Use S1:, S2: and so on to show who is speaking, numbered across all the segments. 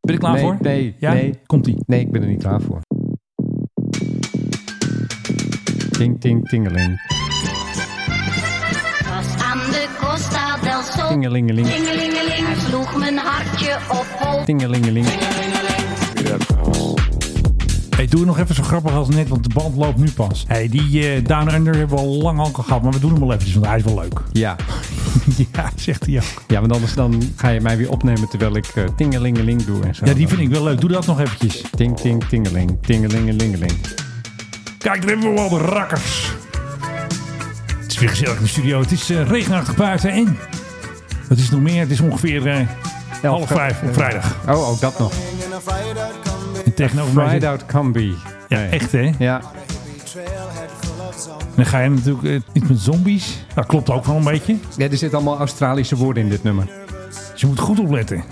S1: Ben ik klaar
S2: nee,
S1: voor?
S2: Nee,
S1: ja?
S2: nee,
S1: Komt-ie.
S2: nee, ik ben er niet klaar voor. Ting, ting, tingeling.
S3: Was aan de Costa del Sol.
S2: Tingelingeling,
S3: Tingelingeling, sloeg mijn hartje op hol.
S2: tingelingeling.
S1: Hey, doe het nog even zo grappig als net, want de band loopt nu pas. Hey, die eh, Down Under hebben we al lang al gehad, maar we doen hem wel eventjes, want hij is wel leuk.
S2: Ja.
S1: ja, zegt hij ook.
S2: ja, want anders dan ga je mij weer opnemen terwijl ik eh, tingelingeling doe en zo.
S1: Ja, die vind ik wel leuk. Doe dat nog eventjes.
S2: Ting, ting, tingeling, tingelingelingeling.
S1: Kijk, daar hebben we wel de rakkers. Het is weer gezellig in de studio. Het is eh, regenachtig buiten en... Het is nog meer. Het is ongeveer eh, half vijf op vrijdag.
S2: Oh, ook dat nog.
S1: En tegenover mij zit-
S2: Ride out Combi.
S1: Ja, echt hè?
S2: Ja,
S1: En dan ga je natuurlijk eh, iets met zombies. Dat klopt ook wel een beetje.
S2: Ja, er zitten allemaal Australische woorden in dit nummer.
S1: Dus je moet goed opletten.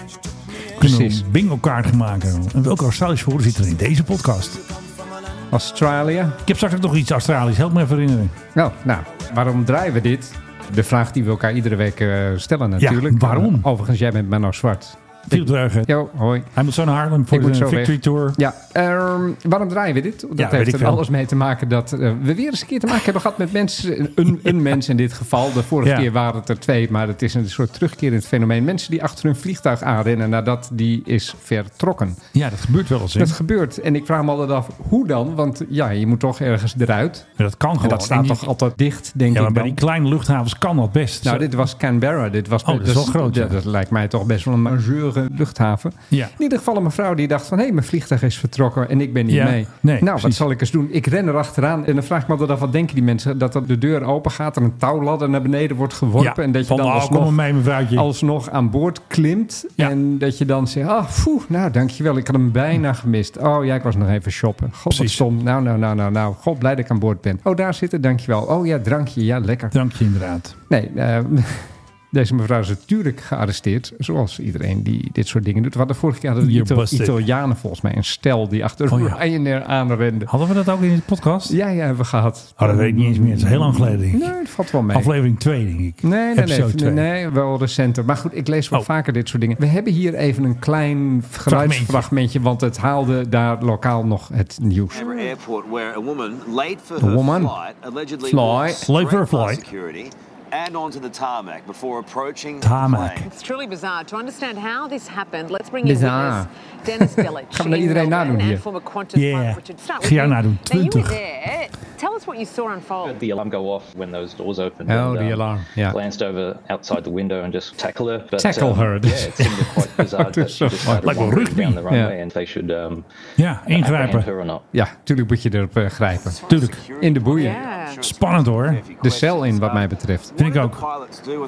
S2: Precies.
S1: Een bingo kaart gemaakt. hebben. En welke Australische woorden zitten er in deze podcast?
S2: Australië.
S1: Ik heb straks ook nog iets Australisch. Help me even herinneren.
S2: Nou, nou, waarom draaien we dit? De vraag die we elkaar iedere week eh, stellen
S1: Ja,
S2: natuurlijk.
S1: waarom?
S2: overigens, jij bent Menno Zwart.
S1: Philip Dreugen.
S2: Jo, hoi.
S1: Hij moet zo naar Harlem voor
S2: Ik
S1: de
S2: moet zo
S1: Victory
S2: weg.
S1: Tour.
S2: Ja, ehm, waarom draaien we dit? Dat
S1: Ja, weet
S2: heeft
S1: ik
S2: er
S1: veel.
S2: alles mee te maken dat eh, we weer eens een keer te maken hebben gehad met mensen. Een, een mens in dit geval. De vorige
S1: Ja.
S2: keer waren het er twee, maar het is een soort terugkerend fenomeen. Mensen die achter hun vliegtuig aanrennen nadat die is vertrokken.
S1: Ja, dat gebeurt wel eens. hè?
S2: Dat gebeurt. En ik vraag me altijd af, hoe dan? Want ja, je moet toch ergens eruit.
S1: Maar dat kan gewoon.
S2: En dat
S1: En
S2: staat
S1: die-
S2: toch altijd dicht, denk
S1: Ja, maar
S2: ik
S1: bij
S2: dan.
S1: die kleine luchthavens kan dat best.
S2: Nou,
S1: Zo- Oh,
S2: dit was Canberra. Dit was
S1: dat is wel groot, ja.
S2: Dat, dat lijkt mij toch best wel een majeure luchthaven.
S1: Ja.
S2: In ieder geval een mevrouw die dacht van... hé, mijn vliegtuig is vertrokken en ik ben niet
S1: Ja,
S2: mee.
S1: nee,
S2: nou, wat
S1: precies.
S2: zal ik eens doen? Ik ren erachteraan en dan vraag ik me altijd af... wat denken die mensen? Dat er de deur open gaat, er een touwladder naar beneden wordt geworpen... en dat je
S1: van,
S2: dan
S1: oh, kom maar
S2: alsnog,
S1: mee, mevrouwtje.
S2: alsnog aan boord klimt...
S1: Ja.
S2: en dat je dan zegt... ah, poeh, nou, dankjewel, ik had hem bijna gemist. Oh ja, ik was nog even shoppen. God, wat
S1: Precies.
S2: stom. Nou, nou, nou, nou, nou. God, blij dat ik aan boord ben. Oh, daar zitten, dankjewel. Oh ja, drankje, ja, lekker.
S1: Dank je inderdaad.
S2: Nee, eh, deze mevrouw is natuurlijk gearresteerd. Zoals iedereen die dit soort dingen doet. We hadden vorige keer hadden we
S1: You're
S2: Ita-
S1: busted.
S2: Italianen volgens mij. Een stel die achter
S1: Oh ja.
S2: Ryanair aanrende.
S1: Hadden we dat ook in de podcast?
S2: Ja, ja, hebben we gehad.
S1: Oh, dat weet ik niet eens meer. Het is heel lang geleden, denk ik.
S2: Nee, het valt wel mee.
S1: Aflevering 2, denk ik.
S2: Nee, nee, nee,
S1: Episode
S2: nee,
S1: twee.
S2: nee, wel recenter. Maar goed, ik lees wel
S1: Oh.
S2: vaker dit soort dingen. We hebben hier even een klein geluidsfragmentje, want het haalde daar lokaal nog het nieuws.
S4: Canberra Airport, where a woman late for
S2: The
S4: her
S2: woman.
S4: flight allegedly
S2: Flight.
S4: walked straight
S1: Late for her
S4: past
S1: flight.
S4: security and onto the tarmac before approaching
S1: Tarmac.
S4: the plane.
S5: It's truly bizarre. To understand how this happened, let's bring in
S2: Bizar.
S5: witness Dennis Billich.
S2: Gaan we dat
S5: in
S2: iedereen
S5: Melbourne
S2: nadoen
S5: and
S2: hier?
S5: former Qantas
S1: Yeah.
S5: pilot Richard Stark.
S1: Ga jij nadoen.
S5: Now, you
S1: 20.
S5: were there. Tell us what you saw unfold.
S6: The alarm go off when those doors opened.
S2: Oh,
S6: and, um,
S2: the alarm, yeah.
S6: Glanced over outside the window and just tackle her. But,
S2: Tackle
S6: um,
S2: her.
S6: Yeah, it seemed quite bizarre that
S2: That's so
S6: she just started
S1: Like a
S6: wandering
S1: rugby.
S6: down the runway
S2: Yeah.
S6: and they should um,
S1: Ja,
S6: apprehend
S1: ingrijpen.
S6: her or not.
S2: Ja, tuurlijk moet je erop eh, grijpen.
S1: Tuurlijk.
S2: In de boeien.
S5: Ja.
S1: Spannend hoor.
S2: De cel in, wat mij betreft.
S1: Vind ik ook.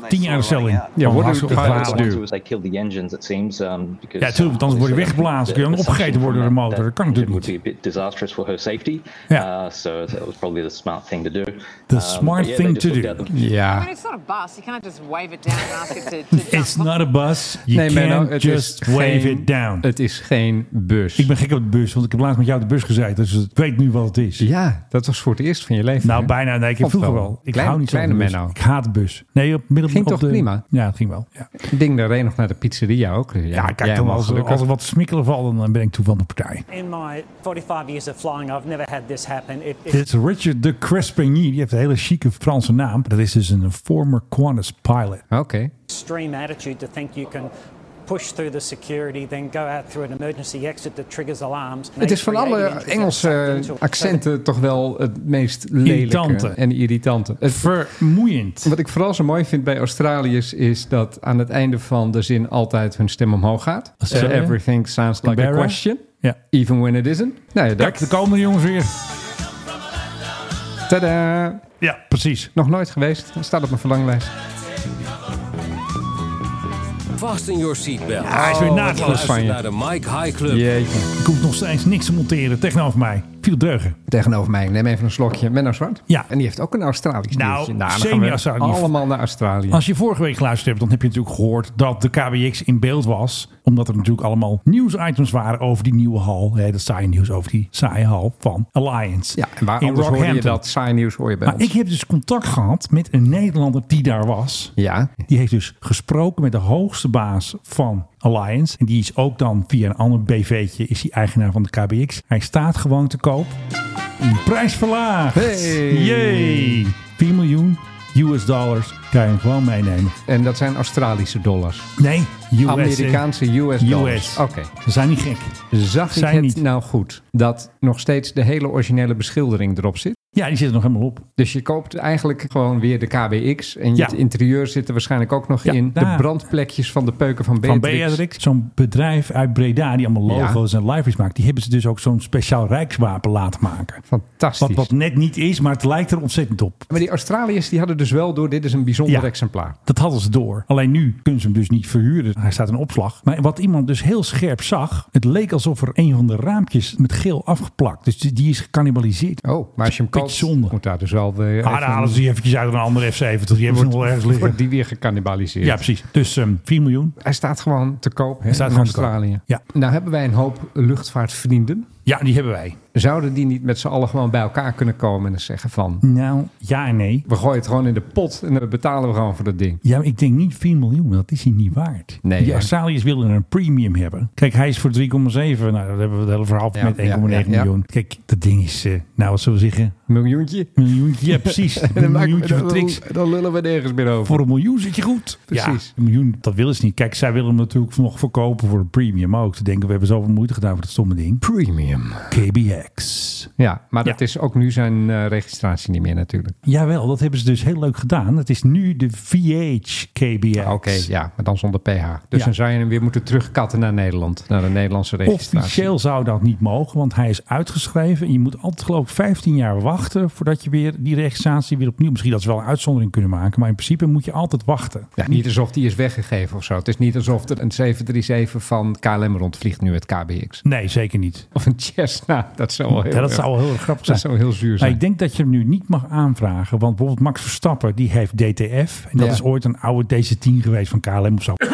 S1: Tien jaar de cel in.
S2: Ja, worden
S1: Hartstikke
S2: de
S1: gevaarlijk.
S6: What
S2: That's
S6: they
S2: due.
S6: do is they kill the engines, it seems. Um, because,
S1: Ja, tuurlijk, want anders word je weggeblazen. Kun je dan opgegeten worden door de motor. Dat kan natuurlijk
S6: It would be a bit disastrous for her safety.
S1: Ja.
S6: Uh, so that was probably the smart thing to do.
S1: The
S6: Um,
S1: smart
S6: but yeah,
S1: thing
S6: they just
S1: to
S6: looked
S1: do.
S6: at them.
S5: I
S2: Ja.
S5: mean, it's not a bus. You can't just wave it down and ask it to, to jump.
S1: It's not a bus. You
S2: Nee, Menno,
S1: can't
S2: het
S1: just
S2: is
S1: wave
S2: geen-
S1: it down.
S2: Het is geen bus.
S1: Ik ben gek op de bus, want ik heb laatst met jou op de bus gezeten. Dus ik weet nu wat het is.
S2: Ja, dat was voor het eerst van je leven.
S1: Nou,
S2: hè?
S1: bijna. Nee, ik heb
S2: Of wel.
S1: vroeger wel. Ik
S2: Klein-
S1: hou niet zo van de
S2: kleine
S1: bus.
S2: Menno.
S1: Ik haat de bus. Nee, op midden
S2: Ging
S1: op
S2: toch
S1: de-
S2: prima?
S1: Ja, het ging wel. Ja,
S2: Ik Ding daar reed nog naar de pizzeria ook. Ja,
S1: ja kijk,
S2: jij
S1: dan
S2: mag
S1: als, er-
S2: gelukkig.
S1: als er wat smikkelen valt, dan ben ik toe van de partij.
S7: In my 45 years of flying, I've never had this happen. It, it-
S1: Dit is Richard de Crespigny. Die heeft een hele chique Franse naam. Dat is dus een former Qantas pilot.
S2: Oké.
S7: extreme attitude to think you can push through the security, then go out through an emergency exit that triggers alarms.
S2: Het is van alle Engelse accenten toch wel het meest lelijke
S1: Irritante.
S2: en irritante. Het,
S1: Vermoeiend.
S2: wat ik vooral zo mooi vind bij Australiërs is dat aan het einde van de zin altijd hun stem omhoog gaat.
S1: Australië?
S2: Eh, everything sounds like a
S1: Canberra?
S2: question,
S1: Ja.
S2: even when it isn't. Nou ja,
S1: Kijk,
S2: dat.
S1: er komen de jongens weer.
S2: Tada!
S1: Ja, precies.
S2: Nog nooit geweest. Staat op mijn verlanglijst.
S8: Vast in your seatbelt.
S1: Hij
S2: Oh,
S1: is weer naadloos.
S2: van je.
S8: Luister naar de Mike High Club.
S2: Jeetje.
S1: Ik hoef nog steeds niks te monteren tegenover mij. Viel deugen.
S2: Tegenover mij. Neem even een slokje. Menno Zwart.
S1: Ja.
S2: En die heeft ook een Australisch
S1: Nou,
S2: nieuwtje. dan gaan we
S1: semi-Australisch.
S2: Allemaal naar Australië.
S1: Als je vorige week geluisterd hebt, dan heb je natuurlijk gehoord dat de KBX in beeld was. Omdat er natuurlijk allemaal nieuwsitems waren over die nieuwe hal. Hè, dat saaie nieuws over die saaie hal van Alliance.
S2: Ja, en waar anders hoor je
S1: Rockhampton.
S2: dat eh, saai nieuws hoor je bij
S1: Maar
S2: ons.
S1: ik heb dus contact gehad met een Nederlander die daar was.
S2: Ja,
S1: Die heeft dus gesproken met de hoogste baas van Alliance. En die is ook dan via een ander BV'tje is die eigenaar van de KBX. Hij staat gewoon te koop. De prijs verlaagd.
S2: Hey.
S1: Yay. 4 miljoen US dollars. Kan je hem gewoon meenemen.
S2: En dat zijn Australische dollars.
S1: Nee, US.
S2: Amerikaanse US dollars.
S1: US.
S2: Oké.
S1: Ze zijn niet gek.
S2: Zag ik
S1: Zijn
S2: het
S1: niet.
S2: nou goed? Dat nog steeds de hele originele beschildering erop zit.
S1: Ja, die zitten nog helemaal op.
S2: Dus je koopt eigenlijk gewoon weer de KBX. En
S1: Ja.
S2: het interieur zit er waarschijnlijk ook nog
S1: Ja,
S2: in.
S1: daar.
S2: De brandplekjes van de peuken van
S1: Van
S2: Beatrix.
S1: Beatrix, zo'n bedrijf uit Breda die allemaal
S2: Ja.
S1: logo's en liveries maakt. Die hebben ze dus ook zo'n speciaal rijkswapen laten maken.
S2: Fantastisch.
S1: Wat, wat net niet is, maar het lijkt er ontzettend op.
S2: Maar die Australiërs die hadden dus wel door, dit is een bijzonder
S1: Ja.
S2: exemplaar.
S1: Dat hadden ze door. Alleen nu kunnen ze hem dus niet verhuren. Hij staat in opslag. Maar wat iemand dus heel scherp zag, het leek alsof er een van de raampjes met geel afgeplakt. Dus die- die is gecannibaliseerd.
S2: Oh, maar als je hem
S1: Beetje
S2: koopt,
S1: zonde.
S2: moet daar dus wel weer...
S1: Ah, dan halen ze die eventjes uit een andere F70. Die hebben ze nog wel ergens liggen.
S2: Wordt die weer gecannibaliseerd.
S1: Ja, precies. Dus ehm 4 miljoen.
S2: Hij staat gewoon te koop hè,
S1: Hij staat
S2: in
S1: gewoon te koop.
S2: Australië.
S1: Ja.
S2: Nou hebben wij een hoop luchtvaartvrienden.
S1: Ja, die hebben wij.
S2: Zouden die niet met z'n allen gewoon bij elkaar kunnen komen en dan zeggen van...
S1: Nou, ja en nee.
S2: We gooien het gewoon in de pot en dan betalen we gewoon voor dat ding.
S1: Ja, maar ik denk niet 4 miljoen, want dat is hij niet waard.
S2: Nee,
S1: die
S2: hè?
S1: Australiërs willen een premium hebben. Kijk, hij is voor 3,7. Nou, dat hebben we het hele verhaal
S2: Ja,
S1: met 1,9
S2: ja, ja, ja.
S1: miljoen. Kijk, dat ding is, eh, nou wat zullen we zeggen,
S2: Miljoentje.
S1: miljoentje. Ja, precies. Een miljoentje voor tricks.
S2: dan, dan lullen we nergens meer over.
S1: Voor een miljoen zit je goed.
S2: Precies.
S1: Ja, een miljoen, dat willen ze niet. Kijk, zij willen hem natuurlijk nog verkopen voor een premium ook. Ze denken, we hebben zoveel moeite gedaan voor dat stomme ding.
S2: Premium.
S1: KBX.
S2: Ja, maar dat
S1: Ja.
S2: is ook nu zijn eh, registratie niet meer natuurlijk.
S1: Jawel, dat hebben ze dus heel leuk gedaan. Het is nu de VH KBX.
S2: Oké, ja, maar dan zonder PH. Dus
S1: Ja.
S2: dan zou je hem weer moeten terugkatten naar Nederland. Naar de Nederlandse registratie.
S1: Officieel zou dat niet mogen, want hij is uitgeschreven. En je moet altijd geloof ik 15 jaar wachten voordat je weer die registratie weer opnieuw... Misschien dat ze wel een uitzondering kunnen maken, maar in principe moet je altijd wachten.
S2: Ja, niet alsof die is weggegeven of zo. Het is niet alsof er een 737 van KLM rondvliegt nu het KBX.
S1: Nee, zeker niet.
S2: Of een Cessna. Dat zou wel heel,
S1: Ja, dat zou wel heel erg grappig zijn.
S2: dat zou heel zuur
S1: Maar
S2: zijn.
S1: ik denk dat je hem nu niet mag aanvragen. Want bijvoorbeeld Max Verstappen, die heeft DTF. En dat
S2: Ja.
S1: is ooit een oude DC-10 geweest van KLM of zo.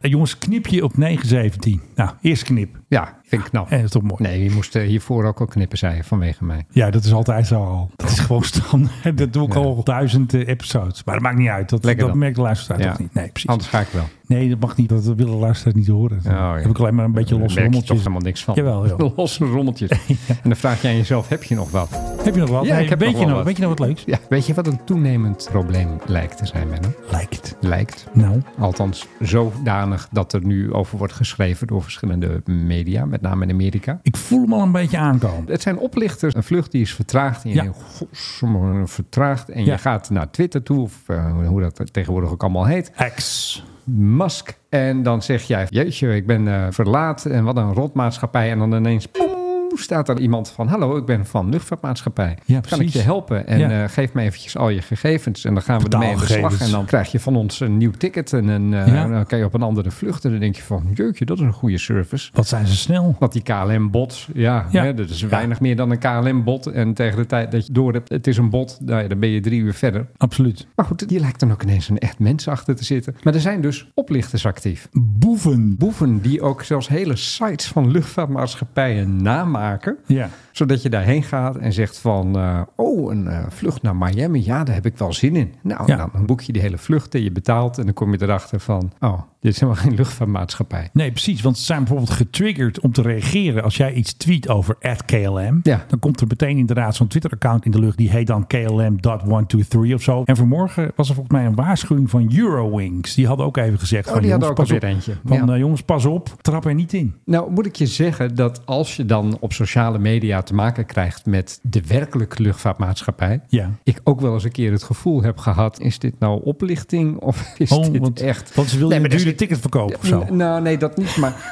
S1: En jongens, knip je op 917. Nou, eerst knip.
S2: Ja, vind ik knap.
S1: En dat is toch mooi.
S2: Nee, je moest eh, hiervoor ook al knippen, zei je, vanwege mij.
S1: Ja, dat is altijd zo al. Dat is gewoon standaard. Dat doe ik al duizend eh, episodes. Maar dat maakt niet uit. Dat,
S2: Lekker
S1: dat
S2: dan.
S1: merkt de luisteraar
S2: Ja.
S1: toch niet. Nee, precies.
S2: Anders ga ik wel.
S1: Nee, dat mag niet. Dat willen de luisteraars niet horen. Dan
S2: ja.
S1: heb ik alleen maar een beetje
S2: Daar
S1: losse
S2: merk je toch
S1: rommeltjes.
S2: helemaal niks van.
S1: Jawel, joh.
S2: Losse rommeltjes. En dan vraag jij aan jezelf, heb je nog wat?
S1: Heb je nog wat?
S2: Ja,
S1: Nee,
S2: ik heb
S1: weet,
S2: nog
S1: je
S2: wel
S1: nog,
S2: wat.
S1: weet je nog wat leuks?
S2: Ja, weet je wat een toenemend probleem lijkt te zijn, Menno?
S1: Lijkt.
S2: Lijkt.
S1: Nou,
S2: Althans, zodanig dat er nu over wordt geschreven door verschillende media, met name in Amerika.
S1: ik voel hem al een beetje aankomen.
S2: Het zijn oplichters. Een vlucht die is vertraagd. En je
S1: Ja.
S2: denkt, godsdomme, vertraagd. En
S1: Ja.
S2: je gaat naar Twitter toe, of eh, hoe dat tegenwoordig ook allemaal heet.
S1: X.
S2: Musk. En dan zeg jij, jeetje, ik ben eh, verlaat. En wat een rotmaatschappij. En dan ineens... poem, Staat er iemand van, hallo, ik ben van luchtvaartmaatschappij.
S1: Ja,
S2: kan ik
S1: precies.
S2: je helpen? En
S1: Ja.
S2: eh, geef me eventjes al je gegevens. En dan gaan we ermee aan de
S1: Betaalgegevens.
S2: slag. En dan krijg je van ons een nieuw ticket. En, een, eh,
S1: Ja.
S2: dan kan je op een andere vlucht. En dan denk je van, jeetje, dat is een goede service.
S1: Wat zijn ze snel?
S2: Want die KLM-bot, ja,
S1: Ja.
S2: Hè, dat is weinig meer dan een KLM-bot. En tegen de tijd dat je door hebt, het is een bot, nou ja, dan ben je drie uur verder.
S1: Absoluut.
S2: Maar goed, hier lijkt dan ook ineens een echt mens achter te zitten. Maar er zijn dus oplichters actief.
S1: Boeven.
S2: Boeven die ook zelfs hele sites van luchtvaartmaatschappijen namaken.
S1: Ja.
S2: Zodat je daarheen gaat en zegt van... eh, oh, een eh, vlucht naar Miami, ja, daar heb ik wel zin in. Nou,
S1: Ja.
S2: dan boek je die hele vlucht en je betaalt. En dan kom je erachter van... oh, dit is helemaal geen luchtvaartmaatschappij.
S1: Nee, precies. Want ze zijn bijvoorbeeld getriggerd om te reageren. Als jij iets tweet over KLM,
S2: Ja.
S1: dan komt er meteen inderdaad zo'n Twitter-account in de lucht. Die heet dan KLM.123 of zo. En vanmorgen was er volgens mij een waarschuwing van Eurowings. Die hadden ook even gezegd:
S2: Oh,
S1: van,
S2: die hadden
S1: jongens,
S2: ook
S1: pas
S2: alweer
S1: op.
S2: eentje.
S1: Van
S2: Ja.
S1: eh, jongens, pas op, trap er niet in.
S2: Nou, moet ik je zeggen dat als je dan op sociale media te maken krijgt met de werkelijke luchtvaartmaatschappij,
S1: Ja.
S2: ik ook wel eens een keer het gevoel heb gehad: is dit nou oplichting of is
S1: Oh,
S2: dit
S1: want,
S2: echt?
S1: want ze wilden
S2: Nee,
S1: een
S2: maar
S1: dure
S2: dat is-
S1: ticket verkopen of zo.
S2: N- Nou, nee, dat niet. Maar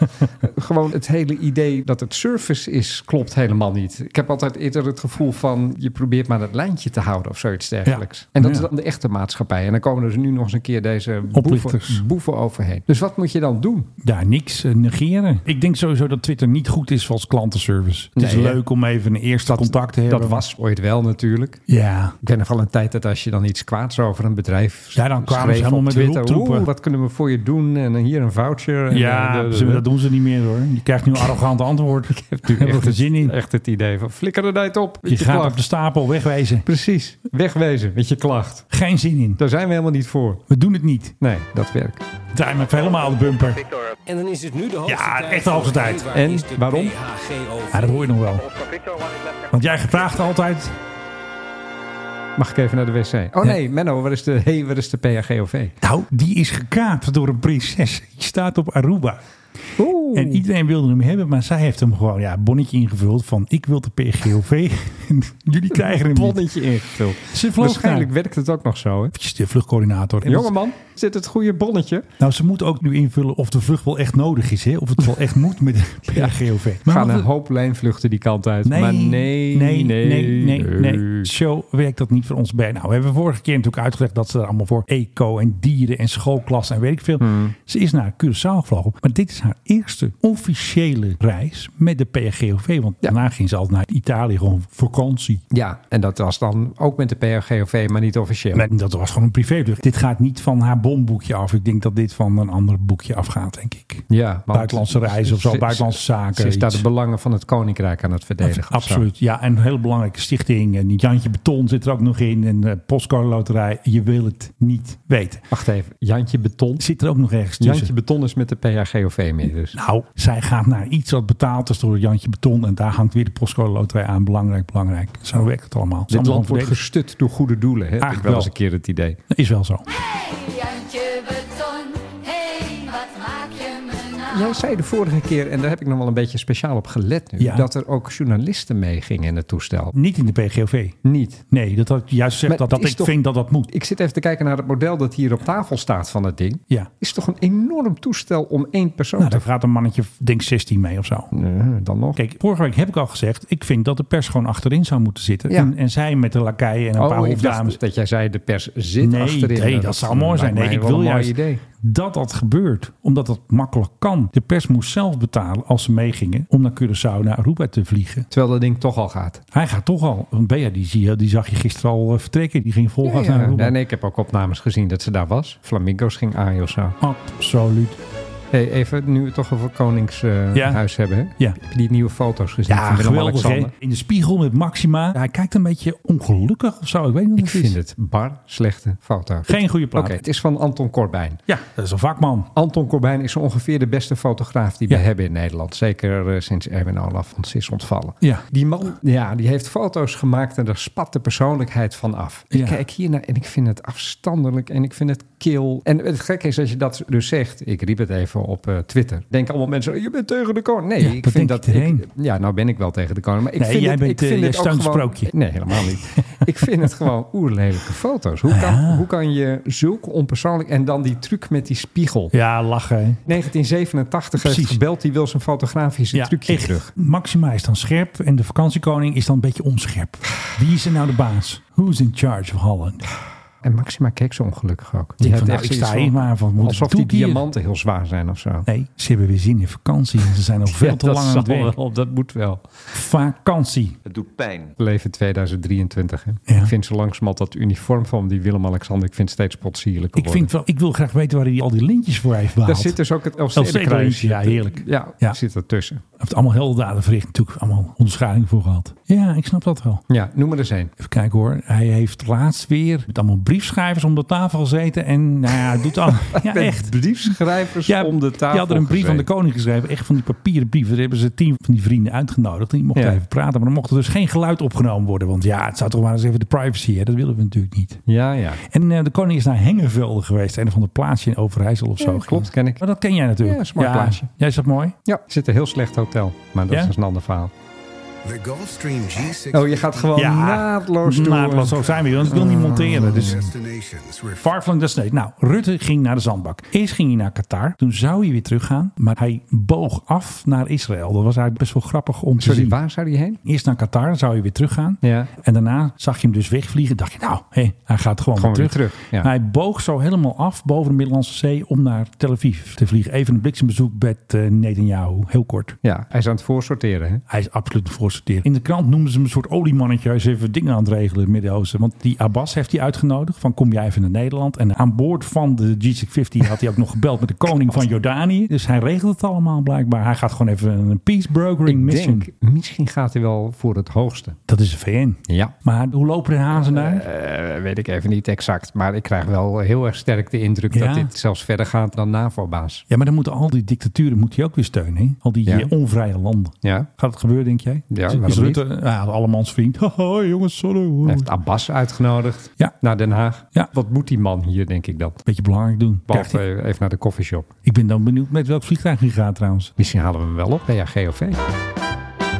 S2: gewoon het hele idee dat het service is, klopt helemaal niet. Ik heb altijd eerder het gevoel van je probeert maar dat lijntje te houden of zoiets dergelijks.
S1: Ja.
S2: En dat
S1: Ja.
S2: is dan de echte maatschappij. En dan komen er nu nog eens een keer deze boeven,
S1: Oplichters.
S2: boeven overheen. Dus wat moet je dan doen?
S1: Ja, niks eh, negeren. Ik denk sowieso dat Twitter niet goed is als klantenservice. Het is
S2: Nee, hè?
S1: leuk om even een eerste contact te hebben.
S2: Dat was ooit wel natuurlijk.
S1: Ja,
S2: Ik ken nog wel een tijd dat als je dan iets kwaads over een bedrijf
S1: Ja, dan kwamen ze
S2: schreef
S1: helemaal
S2: op
S1: met de
S2: Twitter,
S1: roeptroepen.
S2: "Oeh, wat kunnen we voor je doen? En hier een voucher. En
S1: Ja,
S2: eh, de- de-
S1: ze- dat doen ze er niet meer hoor. Je krijgt nu een arrogant antwoord. Ik heb
S2: Nu
S1: er geen zin in.
S2: Echt het idee van flikker de tijd op. Met
S1: Je
S2: je,
S1: gaat
S2: klacht.
S1: op de stapel wegwijzen.
S2: Precies. Wegwezen met je klacht.
S1: Geen zin in.
S2: Daar zijn we helemaal niet voor.
S1: We doen het niet.
S2: Nee, dat werkt.
S1: Draai me helemaal de bumper.
S8: En dan is het nu de hoogste
S1: Ja,
S8: tijd.
S1: echt de hoogste
S8: voor
S1: tijd.
S8: één, waar
S2: En
S8: is de
S2: waarom?
S8: BHG over?
S1: Ja, dat hoor je nog wel. Want jij vraagt altijd.
S2: Mag ik even naar de wc? Oh nee, Menno, waar is de, hey, waar is de PHGOV?
S1: Nou, die is gekaapt door een prinses. Die staat op Aruba.
S2: Oeh.
S1: En iedereen wilde hem hebben, maar zij heeft hem gewoon ja, bonnetje ingevuld van ik wil de PGOV. Jullie krijgen hem niet.
S2: bonnetje ingevuld.
S1: Ze vloog
S2: Waarschijnlijk
S1: Waarschijnlijk
S2: werkt het ook nog zo, hè?
S1: eventjes de vluchtcoördinator. En dat-
S2: Jongeman, zit het goede bonnetje?
S1: nou, ze moet ook nu invullen of de vlucht wel echt nodig is. Hè? Of het wel echt moet met de
S2: Ja.
S1: PGOV.
S2: We
S1: Maar
S2: gaan
S1: wat-
S2: een hoop lijnvluchten die kant uit.
S1: Nee,
S2: maar nee,
S1: nee, nee, nee, nee, Zo werkt dat niet voor ons bij. Nou, we hebben vorige keer natuurlijk uitgelegd dat ze er allemaal voor eco en dieren en schoolklas en weet ik veel.
S2: Hmm.
S1: Ze is naar Curaçao gevlogen. Maar dit is haar eerste officiële reis met de PGOV. Want daarna ging ze altijd naar Italië gewoon vakantie.
S2: Ja, en dat was dan ook met de PRGOV, maar niet officieel.
S1: Maar dat was gewoon een privévlucht. Dit gaat niet van haar bomboekje af. Ik denk dat dit van een ander boekje afgaat, denk ik.
S2: Ja, want-
S1: Buitenlandse reizen of zo,
S2: Ze-
S1: buitenlandse
S2: ze-
S1: zaken,
S2: Ze is daar
S1: iets.
S2: de belangen van het Koninkrijk aan het verdedigen. of zo.
S1: Absoluut, ja. En een hele belangrijke stichting. En Jantje Beton zit er ook nog in. En de Postcode Loterij. Je wil het niet weten.
S2: Wacht even, Jantje Beton.
S1: Zit er ook nog ergens tussen.
S2: Jantje Beton is met de PHGOV mee dus.
S1: Nou, zij gaat naar iets wat betaald is door Jantje Beton. En daar hangt weer de Postcode Loterij aan. Belangrijk, belangrijk. Zo werkt het allemaal. Het is
S2: Dit
S1: allemaal
S2: land wordt
S1: verdedigd.
S2: gestut door goede doelen. Hè? Heb ik
S1: Eigenlijk
S2: wel eens
S1: wel.
S2: een keer het idee.
S1: Is wel zo.
S3: Jantje beton, hey, wat maak je me nou?
S2: Jij zei de vorige keer, en daar heb ik nog wel een beetje speciaal op gelet nu,
S1: Ja.
S2: dat er ook journalisten meegingen in het toestel.
S1: Niet in de PGOV.
S2: Niet.
S1: Nee, dat had ik juist gezegd
S2: Maar
S1: dat, dat
S2: het is
S1: ik
S2: toch-
S1: vind dat dat moet.
S2: Ik zit even te kijken naar het model dat hier op tafel staat van het ding.
S1: Ja.
S2: Is toch een enorm toestel om één persoon
S1: Nou,
S2: te
S1: daar gaat een mannetje, denk 16 mee of zo.
S2: Nee, dan nog.
S1: Kijk, vorige week heb ik al gezegd, ik vind dat de pers gewoon achterin zou moeten zitten.
S2: Ja.
S1: En, en zij met de lakaien en een paar
S2: oh, ik
S1: hofdames.
S2: dacht dat jij zei de pers zit
S1: nee,
S2: achterin.
S1: Nee, dat, zou mooi zijn.
S2: lijkt
S1: Nee, ik
S2: mij
S1: wil
S2: wel een mooi
S1: juist
S2: idee.
S1: dat dat gebeurt. Omdat dat makkelijk kan. De pers moest zelf betalen als ze meegingen om naar Curaçao naar Aruba te vliegen.
S2: Terwijl dat ding toch al gaat.
S1: Hij gaat toch al. Want Bea, die, zie je, die zag je gisteren al eh, vertrekken. Die ging volgas naar Aruba.
S2: En ik heb ook opnames gezien dat ze daar was. Flamingo's ging aan of zo.
S1: Absoluut.
S2: Hey, even nu we het toch over Koningshuis
S1: Ja.
S2: hebben. Hè?
S1: Ja.
S2: Heb je die nieuwe foto's gezien
S1: Ja,
S2: van
S1: geweldig. hè?
S2: Willem-Alexander?
S1: In de spiegel met Maxima. Hij kijkt een beetje ongelukkig of zo. Ik weet niet wat
S2: Ik
S1: het is.
S2: vind het bar slechte foto.
S1: Geen goede
S2: Oké,
S1: plaat.
S2: het is van Anton Corbijn.
S1: Ja, dat is een vakman.
S2: Anton Corbijn is zo ongeveer de beste fotograaf die we
S1: Ja.
S2: hebben in Nederland. Zeker eh, sinds Erwin Olaf ons is ontvallen.
S1: Ja.
S2: Die man ja, die heeft foto's gemaakt en daar spat de persoonlijkheid van af. Ik
S1: Ja.
S2: kijk hiernaar en ik vind het afstandelijk en ik vind het kil. En het gekke is als je dat dus zegt. Ik riep het even op eh, Twitter. Denken allemaal mensen, je bent tegen de koning. Nee,
S1: Ja,
S2: ik
S1: wat
S2: vind
S1: denk
S2: dat...
S1: je
S2: Ik,
S1: erheen?
S2: ja, nou ben ik wel tegen de koning. Maar ik
S1: Nee,
S2: vind
S1: jij
S2: het,
S1: bent,
S2: ik
S1: eh,
S2: vind
S1: jij
S2: het ook
S1: steunt
S2: gewoon,
S1: sprookje.
S2: Nee, helemaal niet. ik vind het gewoon oerlelijke foto's. Hoe kan,
S1: Ah.
S2: hoe kan je zulke onpersoonlijk... En dan die truc met die spiegel.
S1: Ja, lachen. hè?
S2: 1987 heeft
S1: Precies.
S2: gebeld, die wil zijn fotografische trucje
S1: echt.
S2: terug.
S1: Maxima is dan scherp en de vakantiekoning is dan een beetje onscherp. Wie is er nou de baas? Who's in charge of Holland?
S2: En Maxima keek zo ongelukkig ook.
S1: Ik
S2: Die had
S1: van,
S2: echt
S1: nou, ik
S2: zoiets
S1: sta hier maar van, moet
S2: Alsof
S1: ik
S2: die
S1: toe hier?
S2: diamanten heel zwaar zijn of zo.
S1: Nee, ze hebben weer zin in vakantie. en Ze zijn al veel te
S2: Ja,
S1: lang aan het
S2: zal
S1: werk.
S2: wel, dat moet wel.
S1: Vakantie.
S4: Het doet pijn.
S2: We leven 2023. Hè?
S1: Ja.
S2: Ik vind zo langzamerhand dat uniform van die Willem-Alexander... ik vind het steeds potsierlijker
S1: Ik, vind wel, ik wil graag weten waar hij al die lintjes voor heeft behaald.
S2: Daar zit dus ook het
S1: Elfstedenkruis,
S2: Elfstedenkruis.
S1: ja, heerlijk.
S2: Ja,
S1: Ja.
S2: zit ertussen.
S1: Hij heeft allemaal heldendaden verricht. Natuurlijk allemaal onderscheiding voor gehad. Ja, ik snap dat wel.
S2: Ja, noem er eens één.
S1: Even kijken hoor. Hij heeft laatst weer met allemaal briefschrijvers om de tafel gezeten. En nou ja, hij doet al. Ja,
S2: Met
S1: echt.
S2: briefschrijvers
S1: Ja,
S2: om de tafel
S1: Je had er een brief
S2: gezeten.
S1: aan de koning geschreven. Echt van die papieren brieven. Daar hebben ze tien van die vrienden uitgenodigd. Die mochten
S2: Ja.
S1: even praten. Maar dan mocht er dus geen geluid opgenomen worden. Want ja, het zou toch maar eens even de privacy. Hè? Dat willen we natuurlijk niet.
S2: Ja, ja.
S1: En eh, de koning is naar Hengevelde geweest. Een of ander plaatsje in Overijssel of zo.
S2: Ja, klopt, ken ik.
S1: Maar dat ken jij natuurlijk.
S2: Ja, is een mooi plaatsje.
S1: Jij is dat mooi?
S2: Ja, zit een heel slecht hotel. Maar dat
S1: Ja?
S2: is een ander verhaal.
S9: The Gulfstream G6
S2: Oh, je gaat gewoon naadloos Oh, door.
S1: naadloos, zo zijn we. hier, Want ik wil niet monteren. Dus
S9: destinations were
S1: Farflang dat sneed. Nou, Rutte ging naar de zandbak. Eerst ging hij naar Qatar. Toen zou hij weer teruggaan. Maar hij boog af naar Israël. Dat was eigenlijk best wel grappig om te
S2: Sorry,
S1: zien.
S2: waar zou die heen?
S1: Eerst naar Qatar, dan zou hij weer teruggaan.
S2: Ja.
S1: En daarna zag je hem dus wegvliegen. Dacht je, nou, hé, hij gaat gewoon,
S2: Gewoon
S1: weer
S2: weer
S1: terug.
S2: terug, ja.
S1: Hij boog zo helemaal af boven de Middellandse Zee om naar Tel Aviv te vliegen. Even een bliksembezoek bij eh Netanyahu, heel kort.
S2: Ja, hij is aan het voorsorteren. Hè?
S1: Hij is absoluut een doorstuderen. In de krant noemden ze hem een soort oliemannetje. Hij is even dingen aan het regelen in het Midden-Oosten. Want die Abbas heeft hij uitgenodigd. Van kom jij even naar Nederland. En aan boord van de G650 had hij ook nog gebeld met de koning van Jordanië. Dus hij regelt het allemaal blijkbaar. Hij gaat gewoon even een peace brokering
S2: Ik
S1: mission.
S2: denk, misschien gaat hij wel voor het hoogste.
S1: Dat is de VN.
S2: Ja.
S1: Maar hoe lopen de hazen daar?
S2: Eh, weet ik even niet exact. Maar ik krijg wel heel erg sterk de indruk
S1: Ja.
S2: dat dit zelfs verder gaat dan NAVO-baas.
S1: ja, maar dan moeten al die dictaturen moet hij ook weer steunen. hè? Al die
S2: Ja.
S1: eh, onvrije landen.
S2: Ja.
S1: Gaat het gebeuren, denk jij?
S2: Ja,
S1: Is- is
S2: waarom niet?
S1: Rutte ja, allemans vriend? Haha, jongens, sorry. hoor.
S2: Hij heeft Abbas uitgenodigd
S1: Ja.
S2: naar Den Haag.
S1: Ja.
S2: Wat moet die man hier, denk ik dan?
S1: Beetje belangrijk doen. Krijgt
S2: Behalve
S1: hij-
S2: even naar de koffieshop.
S1: ik ben dan benieuwd met welk vliegtuig hij gaat trouwens.
S2: Misschien halen we hem wel op bij GOV.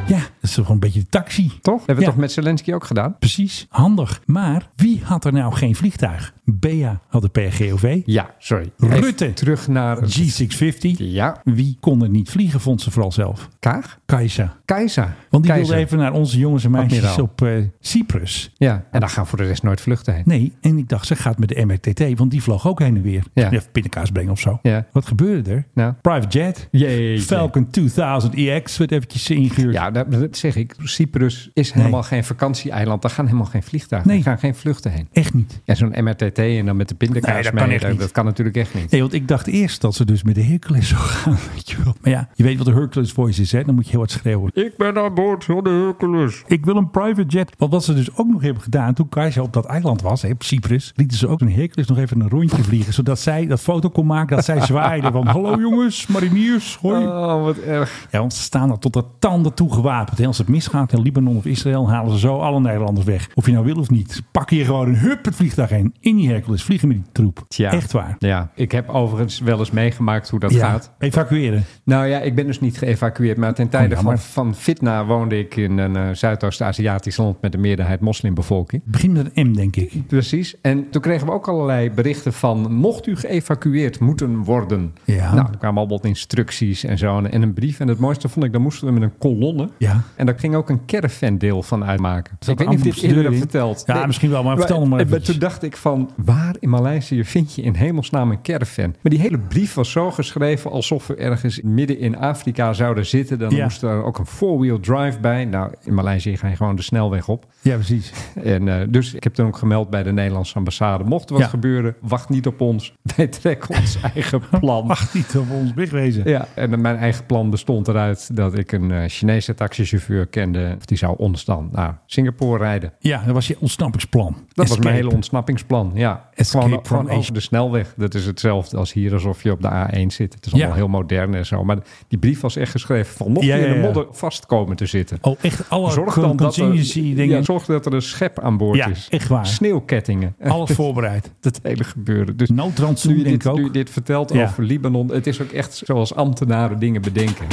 S1: Ja, dat is gewoon een beetje de taxi.
S2: Toch? Hebben we
S1: Ja.
S2: toch met Zelensky ook gedaan?
S1: Precies, handig. Maar wie had er nou geen vliegtuig? Bea had de PRGOV.
S2: Ja, sorry.
S1: Rutte.
S2: Even terug naar...
S1: G650.
S2: Ja,
S1: Wie kon er niet vliegen, vond ze vooral zelf.
S2: Kaag?
S1: Kajsa.
S2: Keizer.
S1: Want die
S2: Keizer.
S1: wilde even naar onze jongens en meisjes
S2: Admiraal.
S1: op eh, Cyprus.
S2: Ja, en daar gaan voor de rest nooit vluchten heen.
S1: Nee, en ik dacht, ze gaat met de MRTT, want die vloog ook heen en weer.
S2: Ja.
S1: Even pindakaas brengen of zo.
S2: Ja.
S1: Wat gebeurde er?
S2: Nou.
S1: Private jet.
S2: Jeetje.
S1: Falcon 2000 EX werd eventjes ingehuurd.
S2: Ja, dat, dat zeg ik. Cyprus is helemaal geen vakantieeiland. Daar gaan helemaal geen vliegtuigen.
S1: Nee.
S2: Er gaan geen vluchten heen.
S1: Echt niet.
S2: En zo'n MRTT en dan met de pindakaas
S1: Nee, dat
S2: mee,
S1: kan echt
S2: dat,
S1: niet.
S2: dat kan natuurlijk echt niet.
S1: Nee, want ik dacht eerst dat ze dus met de Hercules zou gaan. Weet je wel. Maar ja, je weet wat de Hercules voice is, hè? Dan moet je heel hard schreeuwen.
S2: Ik ben aan boord van de Hercules.
S1: Ik wil een private jet. Want wat ze dus ook nog hebben gedaan toen Kajsa op dat eiland was, hè, op Cyprus, lieten ze ook een Hercules nog even een rondje vliegen. Zodat zij dat foto kon maken dat zij zwaaide van hallo jongens, mariniers, hoi.
S2: Oh, wat erg.
S1: Ja, want ze staan er tot de tanden toe gewapend. hè. Als het misgaat in Libanon of Israël, halen ze zo alle Nederlanders weg. Of je nou wil of niet. Pak hier gewoon een hup het vliegtuig heen. In die Hercules, vliegen met die troep.
S2: Tja.
S1: Echt waar.
S2: Ja, ik heb overigens wel eens meegemaakt hoe dat gaat.
S1: Evacueren.
S2: Nou ja, ik ben dus niet geëvacueerd. Maar ten tijde
S1: Oh, jammer.
S2: van, van Fitna woonde ik in een eh, Zuidoost-Aziatisch land met een meerderheid moslimbevolking.
S1: Begin met een M, denk ik.
S2: Precies. En toen kregen we ook allerlei berichten van... mocht u geëvacueerd moeten worden.
S1: Ja.
S2: Nou, er kwamen allemaal wat instructies en zo en, en een brief. En het mooiste vond ik, dan moesten we met een kolonne.
S1: Ja.
S2: En daar ging ook een caravan-deel van uitmaken.
S1: Zat
S2: ik weet
S1: er
S2: niet of dit
S1: ambassadeur
S2: eerder heb
S1: in?
S2: verteld.
S1: Ja, misschien wel, maar vertel hem maar
S2: en- en
S1: eventjes.
S2: Toen dacht ik van, waar in Maleisië vind je in hemelsnaam een caravan? Maar die hele brief was zo geschreven alsof we ergens midden in Afrika zouden zitten. Dan
S1: Ja.
S2: moest er ook een four-wheel drive bij. Nou, in Maleisië ga je gewoon de snelweg op.
S1: Ja, precies.
S2: En, eh, dus ik heb toen ook gemeld bij de Nederlandse ambassade. Mocht er wat
S1: Ja.
S2: gebeuren, wacht niet op ons. Wij trekken ons eigen plan.
S1: Mag niet op ons wegwezen.
S2: Ja, en mijn eigen plan bestond eruit dat ik een eh, Chinese taxichauffeur kende. Of die zou ons dan naar Singapore rijden.
S1: Ja, dat was je ontsnappingsplan.
S2: Dat was
S1: Escape.
S2: mijn hele ontsnappingsplan, ja.
S1: Escape
S2: gewoon
S1: from
S2: gewoon over
S1: Asia.
S2: de snelweg. Dat is hetzelfde als hier, alsof je op de A1 zit. Het is allemaal
S1: Ja.
S2: heel modern en zo. Maar die brief was echt geschreven van mocht
S1: Ja,
S2: je in
S1: ja,
S2: de
S1: ja.
S2: modder vast komen te zitten.
S1: Oh, echt alle
S2: Zorg
S1: con-
S2: dan dat er,
S1: contingency dingen.
S2: ja, zorg dat er een schep aan boord
S1: Ja,
S2: is.
S1: echt waar.
S2: Sneeuwkettingen.
S1: alles voorbereid.
S2: dat hele gebeuren. Dus
S1: Noodrantsoen,
S2: nu je
S1: denk
S2: dit,
S1: ik ook.
S2: nu je dit vertelt
S1: Ja.
S2: over Libanon, het is ook echt zoals ambtenaren dingen bedenken.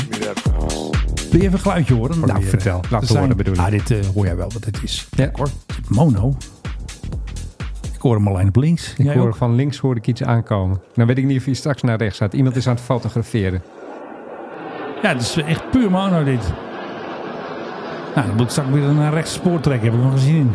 S1: Wil je even een geluidje horen? eh,
S2: Nou, vertel. Laat
S1: we
S2: het horen, bedoel ik.
S1: Ah, dit eh, hoor jij wel wat het is.
S2: Ja.
S1: Ik hoor mono. Ik hoor hem alleen op links.
S2: Ik
S1: Jij
S2: hoor
S1: ook?
S2: van links hoor ik iets aankomen. Dan weet ik niet of je straks naar rechts gaat. Iemand is aan het fotograferen.
S1: Ja, het is echt puur mono dit. Nou, dan moet ik straks weer naar rechts spoor trekken. Heb ik nog gezien in.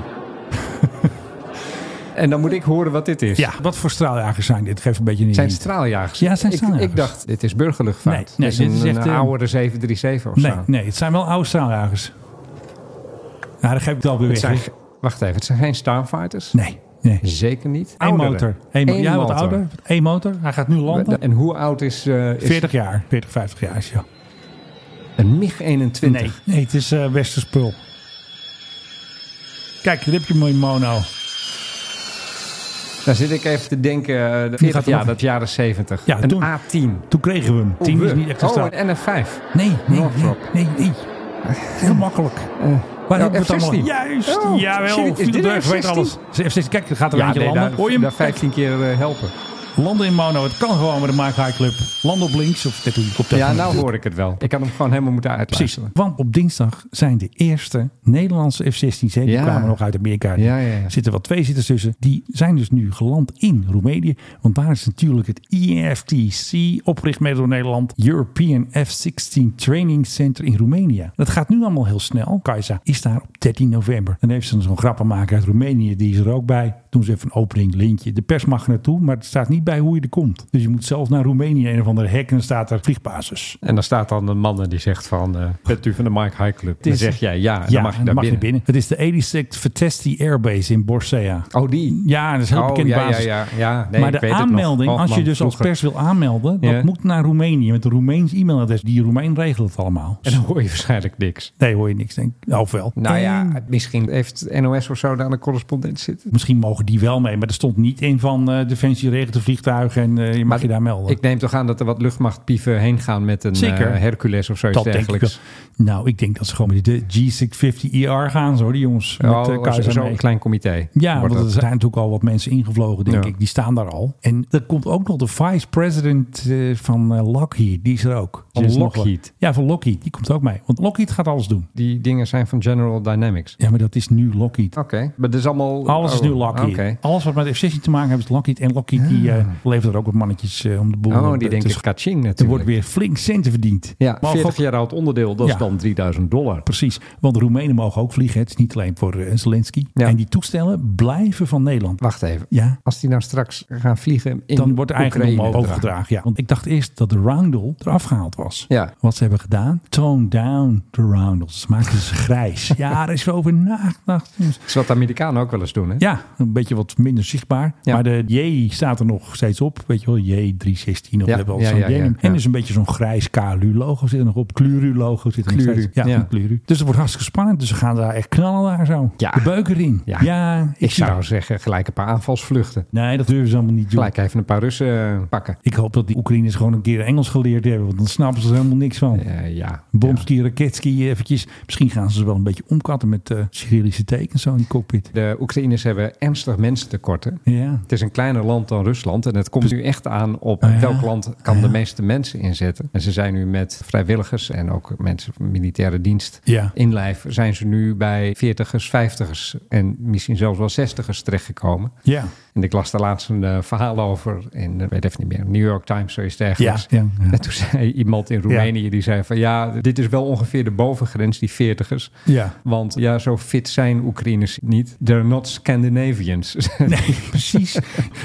S2: En dan moet ik horen wat dit is.
S1: Ja, wat voor straaljagers zijn dit? Geef een beetje een
S2: Zijn
S1: hint.
S2: het straaljagers?
S1: Ja, het zijn
S2: Ik-
S1: straaljagers.
S2: Ik, dacht, dit is burgerluchtvaart.
S1: Nee, nee,
S2: dit is
S1: dit is
S2: een,
S1: echt,
S2: een
S1: eh,
S2: oudere 737 of
S1: Nee,
S2: zo.
S1: nee, het zijn wel oude straaljagers. Nou, dan geef ik het alweer
S2: Het
S1: weg.
S2: zijn,
S1: hè?
S2: wacht even, het zijn geen Starfighters?
S1: Nee, nee.
S2: Zeker niet.
S1: Eén
S2: Oudere.
S1: motor. Eén mo-
S2: Eén
S1: ja, wat
S2: motor.
S1: ouder. Eén motor. Hij gaat nu landen.
S2: En hoe oud is, eh, is
S1: 40 jaar. 40, 50 jaar is ja.
S2: een MiG-21?
S1: Nee, nee, het is eh Westerspul. Kijk, daar heb je mooi mono.
S2: Daar Nou, zit ik even te denken, eh, de 40
S1: gaat er
S2: jaar,
S1: nog-
S2: dat jaren 70.
S1: Ja,
S2: een
S1: toen-
S2: A10.
S1: Toen kregen we hem. 10 is niet echt een
S2: Oh,
S1: staal.
S2: een NF5.
S1: Nee, nee, nee,
S2: Northrop.
S1: nee, nee. Heel makkelijk. Waar
S2: Eh, ja,
S1: hebben we het allemaal?
S2: F-16.
S1: Juist,
S2: Oh, shit,
S1: jawel.
S2: is dit
S1: Vliegtuig
S2: een
S1: weet
S2: F-16?
S1: alles. F-16, Kijk, er gaat er eentje
S2: nee,
S1: landen.
S2: daar,
S1: Hoor je hem?
S2: daar 15 keer eh, helpen.
S1: Landen in mono. Het kan gewoon met de Mike High Club. Landen op links. Of dit doe ik op de
S2: Ja, nou hoor ik het wel. Ik had hem gewoon helemaal moeten
S1: Precies.
S2: uitluisteren.
S1: Want op dinsdag zijn de eerste Nederlandse F-16's. hè, Die
S2: Ja.
S1: kwamen nog uit Amerika.
S2: Ja, ja, ja.
S1: Zitten wel twee zitters tussen. Die zijn dus nu geland in Roemenië. Want daar is natuurlijk het EFTC, opgericht mede door Nederland. European F-16 Training Center in Roemenië. Dat gaat nu allemaal heel snel. Kajsa is daar op 13 november. Dan heeft ze zo'n grappenmaker uit Roemenië. Die is er ook bij. Doen ze even een opening, lintje. De pers mag er naartoe, maar het staat niet niet bij hoe je er komt. Dus je moet zelf naar Roemenië, een of andere hek, en dan staat er vliegbasis.
S2: En dan staat dan een man en die zegt van, eh, bent u van de Mike High Club? Dan
S1: is-
S2: zeg jij ja, en
S1: ja,
S2: dan mag je
S1: en dan
S2: daar
S1: mag je
S2: binnen.
S1: binnen. Het is de 86 Vitesti Airbase in Borsea.
S2: Oh, die?
S1: Ja, dat is een heel
S2: Oh,
S1: bekend
S2: ja, ja,
S1: basis.
S2: ja, ja. Nee,
S1: maar
S2: ik
S1: de
S2: weet het nog.
S1: aanmelding, als je
S2: Hoogland
S1: dus als
S2: vroeger.
S1: pers wil aanmelden, dat
S2: Ja.
S1: moet naar Roemenië met een Roemeens e-mailadres. Die Roemeen regelt het allemaal.
S2: En dan hoor je waarschijnlijk niks.
S1: Nee, hoor je niks. Denk. ik. Of wel.
S2: Nou
S1: En
S2: ja, misschien heeft NOS of zo daar een correspondent zitten.
S1: Misschien mogen die wel mee, maar er stond niet in van eh Defensie regelt de vliegtuigen en eh, je mag je daar melden.
S2: Ik neem toch aan dat er wat luchtmachtpieven heen gaan met een
S1: Zeker.
S2: eh, Hercules of zoiets
S1: dat denk ik wel.
S2: dergelijks.
S1: Nou, ik denk dat ze gewoon met de G650ER E gaan, zo, die jongens. met eh,
S2: Oh, zo-
S1: Kaiser
S2: zo'n
S1: mee.
S2: klein comité.
S1: Ja,
S2: wordt
S1: want er
S2: dat.
S1: zijn natuurlijk al wat mensen ingevlogen, denk
S2: Ja.
S1: ik. Die staan daar al. En er komt ook nog de vice-president eh, van eh, Lockheed. Die is er ook.
S2: Van
S1: Die is nog
S2: Lockheed?
S1: wel- Ja, van Lockheed. Die komt ook mee. Want Lockheed gaat alles doen.
S2: Die dingen zijn van General Dynamics.
S1: Ja, maar dat is nu Lockheed.
S2: Oké, maar dat is allemaal...
S1: Alles is
S2: oh,
S1: nu Lockheed.
S2: oké. Ah.
S1: Alles wat met F-16 te maken heeft, is Lockheed. En Lockheed die, eh, levert er ook wat mannetjes eh, om de boel.
S2: Oh, die
S1: eh,
S2: denken
S1: te-
S2: kaching
S1: Er
S2: natuurlijk.
S1: wordt weer flink centen verdiend.
S2: Ja,
S1: Mogen
S2: 40
S1: ook-
S2: jaar oud onderdeel, dat
S1: Ja.
S2: is dan 3000 dollar.
S1: Precies, want de Roemenen mogen ook vliegen. Het is niet alleen voor eh, Zelensky.
S2: Ja.
S1: En die toestellen blijven van Nederland.
S2: Wacht even.
S1: Ja.
S2: Als die nou straks gaan vliegen in
S1: dan wordt de eigendom
S2: Oekraïne
S1: overgedragen. Ja. Want ik dacht eerst dat de roundel eraf gehaald was.
S2: Ja.
S1: Wat ze hebben gedaan? Tone down the roundels. Ze maakten ze grijs. ja, daar is wel over nagedacht.
S2: is wat de Amerikanen ook wel eens doen, hè?
S1: Ja, een beetje wat minder zichtbaar.
S2: Ja.
S1: Maar de J staat er nog steeds op. Weet je wel, J316 of
S2: Ja,
S1: hebben
S2: ja,
S1: zo'n
S2: ja,
S1: J.
S2: ja, ja.
S1: En dus een beetje zo'n grijs KLU-logo zit er nog op. Kluru-logo zit er nog
S2: Kluru,
S1: steeds op. Ja,
S2: ja.
S1: van Kluru. Dus het wordt hartstikke spannend. Dus ze gaan daar echt knallen daar zo.
S2: Ja.
S1: De beuker in. Ja,
S2: Ja.
S1: ik,
S2: Ik
S1: zie
S2: zou
S1: het.
S2: zeggen, gelijk een paar aanvalsvluchten.
S1: Nee, dat durven ze allemaal niet doen.
S2: Gelijk even een paar Russen eh, pakken.
S1: Ik hoop dat die Oekraïners gewoon een keer Engels geleerd hebben. Want dan snappen ze er helemaal niks van.
S2: Eh, ja.
S1: Bomski, raketski, eventjes. Misschien gaan ze ze wel een beetje omkatten met eh Cyrillische tekens zo in die cockpit.
S2: De Oekraïners hebben ernstig mensentekorten.
S1: Ja.
S2: Het is een kleiner land dan Rusland. En het komt nu echt aan op
S1: Ah, ja.
S2: welk land kan de meeste mensen inzetten. En ze zijn nu met vrijwilligers en ook mensen van militaire dienst
S1: Ja.
S2: in lijf. Zijn ze nu bij 40ers, 50ers en misschien zelfs wel 60ers terechtgekomen.
S1: Ja.
S2: En ik las daar laatst een eh, verhaal over in, eh, weet even niet meer, New York Times, zoiets dergelijks.
S1: Ja, ja, ja.
S2: En toen zei iemand in Roemenië, die zei van ja, dit is wel ongeveer de bovengrens, die 40ers.
S1: Ja.
S2: Want ja, zo fit zijn Oekraïners niet. They're not Scandinavians.
S1: Nee, precies.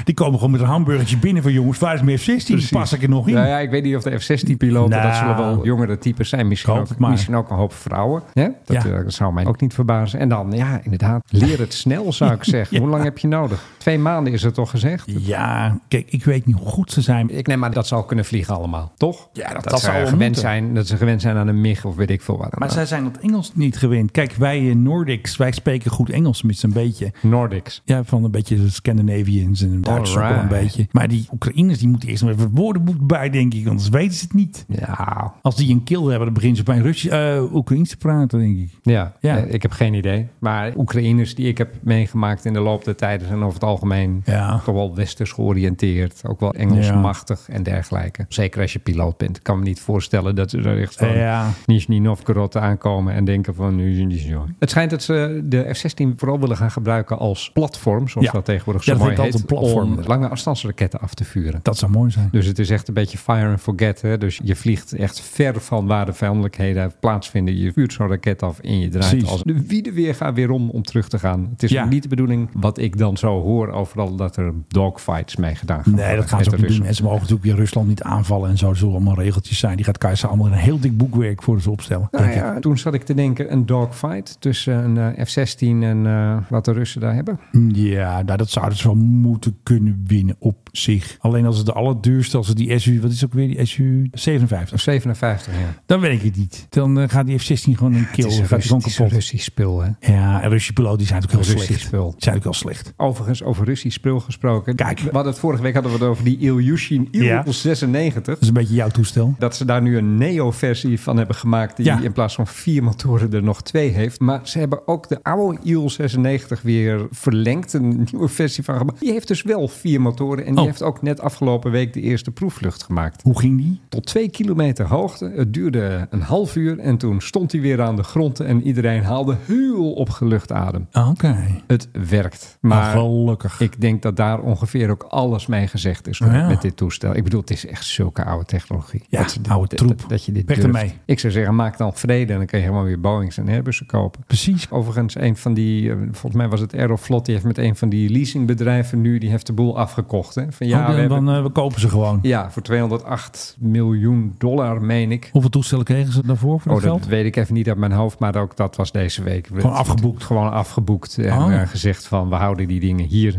S1: Die komen gewoon met een hamburgertje binnen van jongens. Waar is mijn F-16? Pas ik er nog in?
S2: Nou ja, ik weet niet of de F-16-piloten,
S1: Nou.
S2: dat zullen wel jongere types zijn. Misschien,
S1: Ik hoop het
S2: ook,
S1: maar.
S2: misschien ook een hoop vrouwen. Ja? Dat,
S1: Ja.
S2: eh, dat zou mij ook niet verbazen. En dan, ja, inderdaad, leer het snel, zou ik zeggen.
S1: Ja.
S2: Hoe lang heb je nodig? Twee maanden is het toch gezegd?
S1: Ja, kijk, ik weet niet hoe goed ze zijn.
S2: Ik neem aan dat ze al kunnen vliegen allemaal, toch?
S1: Ja, dat-
S2: dat,
S1: dat
S2: ze
S1: zou wel
S2: gewend
S1: moeten.
S2: zijn, dat ze gewend zijn aan een MIG of weet ik veel wat.
S1: Maar zij zijn het Engels niet gewend. Kijk, wij in Nordics, wij spreken goed Engels, tenminste een beetje.
S2: Nordics.
S1: Ja, van een beetje de Scandinavians en Duitsers ook wel een
S2: Alright.
S1: beetje. Maar die Oekraïners, die moeten eerst nog even het woordenboek bij, denk ik. Anders weten ze het niet.
S2: Ja,
S1: Als die een kil hebben, dan beginnen ze bij een Russisch, eh Oekraïens te praten, denk ik.
S2: ja,
S1: Ja.
S2: Eh, ik heb geen idee. Maar Oekraïners die ik heb meegemaakt in de loop der tijden zijn over het algemeen
S1: Ja.
S2: toch wel westers georiënteerd. Ook wel Engelsmachtig en dergelijke. Zeker als je piloot bent. Ik kan me niet voorstellen dat ze er echt van
S1: Ja.
S2: Nizhny Novgorod aankomen en denken van nu zijn die zo. Het schijnt dat ze de F-16 vooral willen gaan gebruiken als platform, zoals
S1: Ja.
S2: dat tegenwoordig
S1: Ja,
S2: zo
S1: dat
S2: mooi
S1: heet altijd
S2: heet,
S1: een platform.
S2: om lange afstandsraketten af te vuren.
S1: Dat zou mooi zijn.
S2: Dus het is echt een beetje fire and forget. Hè? Dus je vliegt echt ver van waar de vijandelijkheden plaatsvinden. Je vuurt zo'n raket af en je draait
S1: Precies.
S2: als de wiede weer gaat weer om om terug te gaan. Het is
S1: Ja.
S2: niet de bedoening wat ik dan zo hoor overal dat er dogfights mee gedaan gaan
S1: Nee,
S2: worden
S1: dat gaan
S2: met
S1: ze ook niet
S2: de
S1: doen.
S2: Russen.
S1: En ze mogen natuurlijk weer Rusland niet aanvallen en zo. Er zullen allemaal regeltjes zijn. Die gaat Kaiser allemaal een heel dik boekwerk voor ze opstellen.
S2: Nou
S1: denk ik.
S2: ja, toen zat ik te denken, een dogfight tussen een eh, F-16 en eh, wat de Russen daar hebben.
S1: Ja, nou, dat zouden ze wel moeten kunnen winnen op zich. Alleen als het de allerduurste, als het die SU, wat is ook weer die SU 57?
S2: Of 57, ja.
S1: Dan weet ik het niet. Dan eh, gaat die F-16 gewoon een kill.
S2: een
S1: gaat die
S2: Rus-
S1: gewoon
S2: het is een
S1: kapot.
S2: Russisch spul, hè.
S1: Ja, en Russische piloten die zijn natuurlijk heel
S2: Russisch
S1: slecht.
S2: spul.
S1: Die zijn natuurlijk heel slecht.
S2: Overigens, over Russisch spul gesproken.
S1: Kijk.
S2: We hadden het vorige week hadden we het over die Ilyushin
S1: Ja.
S2: Il-96.
S1: Dat is een beetje jouw toestel.
S2: Dat ze daar nu een neo-versie van hebben gemaakt. Die
S1: Ja.
S2: in plaats van vier motoren er nog twee heeft. Maar ze hebben ook de oude IL-96 weer verlengd. Een nieuwe versie van gemaakt. Die heeft dus wel vier motoren. En die
S1: Oh.
S2: heeft ook net afgelopen week de eerste proefvlucht gemaakt.
S1: Hoe ging die?
S2: Tot twee kilometer hoogte. Het duurde een half uur. En toen stond hij weer aan de grond. En iedereen haalde heel opgelucht adem.
S1: Ah, Oké.
S2: Het werkt.
S1: Maar
S2: Maar
S1: gelukkig.
S2: ik denk dat daar ongeveer ook alles mee gezegd is
S1: Oh Ja.
S2: met dit toestel. Ik bedoel, het is echt zulke oude technologie.
S1: Ja,
S2: ze dit-
S1: oude
S2: dat-
S1: troep.
S2: Dat, dat je dit
S1: Weg
S2: durft.
S1: ermee.
S2: Ik zou zeggen, maak dan vrede en dan kun je helemaal weer Boeings en Airbussen kopen.
S1: Precies.
S2: Overigens, een van die, eh, volgens mij was het Aeroflot, die heeft met een van die leasingbedrijven nu, die heeft de boel afgekocht. gekocht. Hè? Van,
S1: Ja,
S2: ja, we
S1: dan,
S2: hebben,
S1: dan, eh, we kopen ze gewoon.
S2: ja, voor 208 miljoen dollar, meen ik.
S1: Hoeveel toestellen kregen ze daarvoor voor
S2: Oh,
S1: dat
S2: dat
S1: geld?
S2: weet ik even niet uit mijn hoofd, maar ook dat was deze week.
S1: Gewoon afgeboekt.
S2: Gewoon afgeboekt en
S1: Oh.
S2: eh, gezegd van we houden die dingen hier.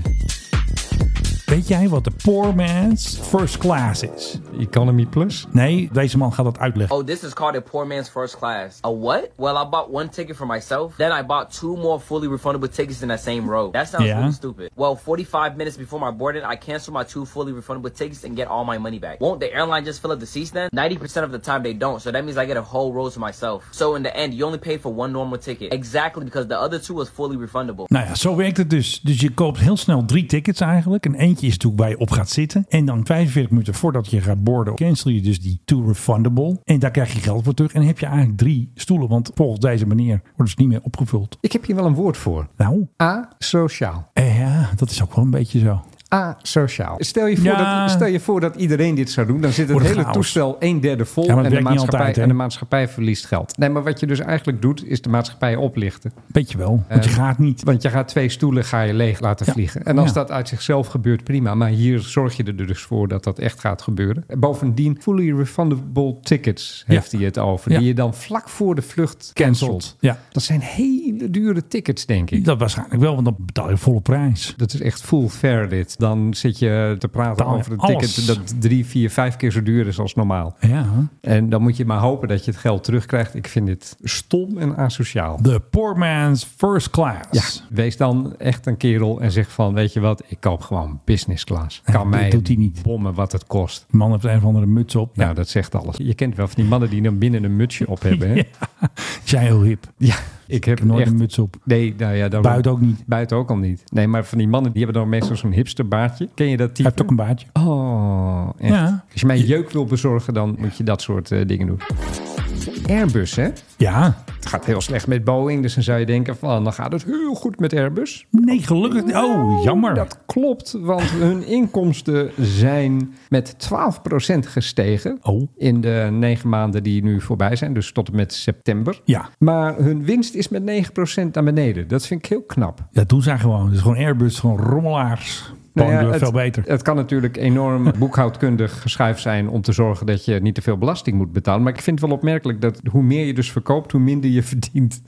S1: Weet jij wat de poor man's first class is?
S2: Economy Plus.
S1: Nee, deze man gaat dat uitleggen.
S10: Oh, this is called a poor man's first class. A what? Well, I bought one ticket for myself, then I bought two more fully refundable tickets in that same row. That sounds
S1: Yeah.
S10: really stupid. Well, 45 minutes before my boarding, I canceled my two fully refundable tickets and get all my money back. Won't the airline just fill up the seats then? 90% of the time they don't, so that means I get a whole row to myself. So in the end, you only paid for one normal ticket. Exactly because the other two was fully refundable.
S1: Nou ja, zo werkt het dus. Dus je koopt heel snel drie tickets eigenlijk. En eentje is natuurlijk waar je op gaat zitten. En dan 45 minuten voordat je gaat boarden, cancel je dus die two refundable. En daar krijg je geld voor terug. En dan heb je eigenlijk drie stoelen. Want volgens deze manier worden ze niet meer opgevuld.
S2: Ik heb hier wel een woord voor.
S1: Nou,
S2: Asociaal.
S1: eh, ja, dat is ook wel een beetje zo.
S2: Asociaal. Stel je, voor
S1: Ja.
S2: dat, stel je voor dat iedereen dit zou doen, dan zit het
S1: Wordt
S2: hele
S1: chaos.
S2: toestel een derde vol
S1: Ja, maar het
S2: en, de
S1: werkt niet
S2: maatschappij,
S1: altijd, hè?
S2: en de maatschappij verliest geld. Nee, maar wat je dus eigenlijk doet, is de maatschappij oplichten.
S1: Beetje wel. Want je
S2: Eh,
S1: gaat niet.
S2: Want je gaat twee stoelen ga je leeg laten
S1: Ja.
S2: vliegen. En als
S1: Ja.
S2: dat uit zichzelf gebeurt, prima. Maar hier zorg je er dus voor dat dat echt gaat gebeuren. Bovendien, fully refundable tickets heeft
S1: Ja.
S2: hij het over.
S1: Ja.
S2: Die je dan vlak voor de vlucht cancelt.
S1: Ja.
S2: Dat zijn hele dure tickets, denk ik.
S1: Dat waarschijnlijk wel, want dan betaal je volle prijs.
S2: Dat is echt full fair dit. Dan zit je te praten
S1: Betaal je
S2: over een
S1: alles.
S2: ticket dat drie, vier, vijf keer zo duur is als normaal.
S1: Ja.
S2: En dan moet je maar hopen dat je het geld terugkrijgt. Ik vind dit stom en asociaal.
S1: The poor man's first class.
S2: Ja, wees dan echt een kerel en zeg van, weet je wat, ik koop gewoon business class. Kan
S1: dat
S2: mij
S1: doet hij niet.
S2: bommen wat het kost.
S1: Die man heeft een of andere muts op.
S2: Nou, dat zegt alles. Je kent wel van die mannen die dan binnen een mutsje op hebben. Hè? Ja.
S1: Zijn heel hip.
S2: ik heb
S1: Ik heb nooit
S2: echt...
S1: een muts op.
S2: Nee, nou ja, daarom-
S1: Buiten ook niet.
S2: Buiten ook al niet. Nee, maar van die mannen die hebben dan meestal zo'n hipsterbaardje. Ken je dat
S1: Hij
S2: type?
S1: heeft ook een baardje.
S2: Oh, echt.
S1: Ja.
S2: Als je mij jeuk wil bezorgen, dan moet je dat soort eh, dingen doen. Airbus, hè?
S1: Ja.
S2: Het gaat heel slecht met Boeing, dus dan zou je denken van, dan gaat het heel goed met Airbus.
S1: Nee, gelukkig niet. Oh, jammer.
S2: Dat klopt, want hun inkomsten zijn met 12% gestegen
S1: Oh.
S2: in de negen maanden die nu voorbij zijn, dus tot en met september.
S1: Ja.
S2: Maar hun winst is met 9% naar beneden. Dat vind ik heel knap.
S1: Dat doen zij gewoon. Het is gewoon Airbus, gewoon rommelaars.
S2: Nou
S1: Boeing
S2: ja,
S1: doet het
S2: het,
S1: veel beter.
S2: Het kan natuurlijk enorm boekhoudkundig geschuif zijn om te zorgen dat je niet te veel belasting moet betalen. Maar ik vind het wel opmerkelijk dat hoe meer je dus verkoopt, hoe minder je verdient.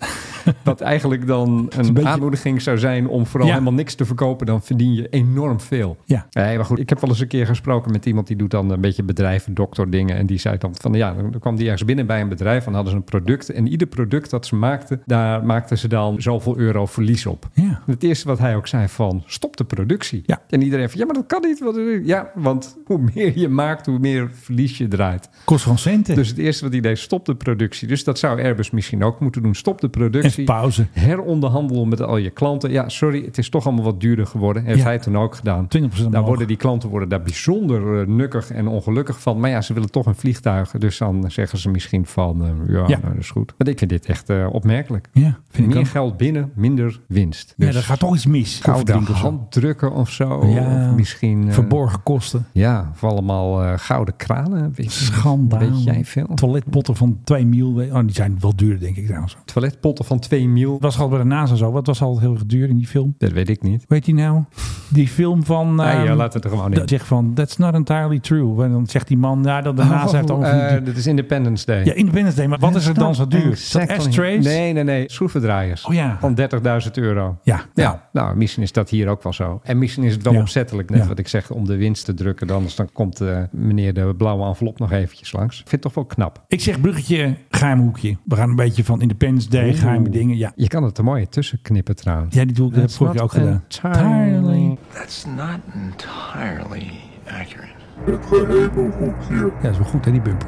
S2: Wat eigenlijk dan een,
S1: beetje-
S2: aanmoediging zou zijn om vooral
S1: Ja.
S2: helemaal niks te verkopen, dan verdien je enorm veel.
S1: Ja.
S2: Nee, maar goed, ik heb wel eens een keer gesproken met iemand die doet dan een beetje bedrijven, dokter dingen. En die zei dan van ja, dan kwam die ergens binnen bij een bedrijf en hadden ze een product. En ieder product dat ze maakten, daar maakten ze dan zoveel euro verlies op.
S1: Ja.
S2: Het eerste wat hij ook zei van stop de productie.
S1: Ja.
S2: En iedereen van ja, maar dat kan niet. want- eh, Ja, want hoe meer je maakt, hoe meer verlies je draait.
S1: Kost gewoon centen.
S2: Dus het eerste wat hij deed, stop de productie. Dus dat zou Airbus misschien ook moeten doen. Stop de
S1: Even
S2: productie.
S1: pauze.
S2: Heronderhandelen met al je klanten. Ja, sorry, het is toch allemaal wat duurder geworden. Heeft
S1: Ja.
S2: hij toen ook gedaan.
S1: 20%
S2: Daar
S1: omhoog.
S2: worden die klanten worden daar bijzonder eh, nukkig en ongelukkig van. Maar ja, ze willen toch een vliegtuig. Dus dan zeggen ze misschien van, eh, ja,
S1: Ja.
S2: nou, dat is goed. Want ik vind dit echt eh, opmerkelijk.
S1: Ja, vind ik
S2: Meer
S1: ook.
S2: geld binnen, minder winst. Dus
S1: ja, er gaat toch iets mis. Koffie
S2: gouden
S1: drinken of zo.
S2: handdrukken of zo.
S1: Ja.
S2: Of misschien... eh,
S1: Verborgen kosten.
S2: Ja, of allemaal eh, gouden kranen. Weet je-
S1: Schandaal.
S2: Weet jij veel?
S1: Toiletpotten van 2 mil. we- Oh, die zijn wel duur, denk ik trouwens. Het
S2: Toiletpotten van 2 mil.
S1: was al bij de NASA zo. Wat was al heel erg duur in die film?
S2: Dat weet ik niet.
S1: Weet die nou? Die film van...
S2: Nee,
S1: ehm,
S2: Ah, ja, laat het er gewoon in.
S1: dat zegt van, that's not entirely true. En dan zegt die man, ja, dat de NASA heeft
S2: Oh,
S1: allemaal... van die-
S2: eh, dat is Independence Day.
S1: ja, Independence Day. Maar wat is er dan zo duur? Is dat
S2: Exactly.
S1: ashtrays?
S2: Nee, nee, nee. Schroevendraaiers.
S1: Oh ja.
S2: Van 30.000 euro.
S1: Ja.
S2: ja. Nou, misschien is dat hier ook wel zo. En misschien is het wel
S1: Ja.
S2: opzettelijk, net
S1: Ja.
S2: wat ik zeg, om de winst te drukken. Anders dan komt eh, meneer de blauwe envelop nog eventjes langs. Ik vind het toch wel knap.
S1: Ik zeg bruggetje, geheim hoekje. We gaan een beetje van Independence Day, geheime dingen. Ja.
S2: Je kan het er mooi tussen knippen trouwens.
S1: ja, die doe ik, dat heb ik vorig jaar ook gedaan. Entirely.
S9: That's not entirely accurate.
S1: Ja, dat is wel goed hè, die bumper.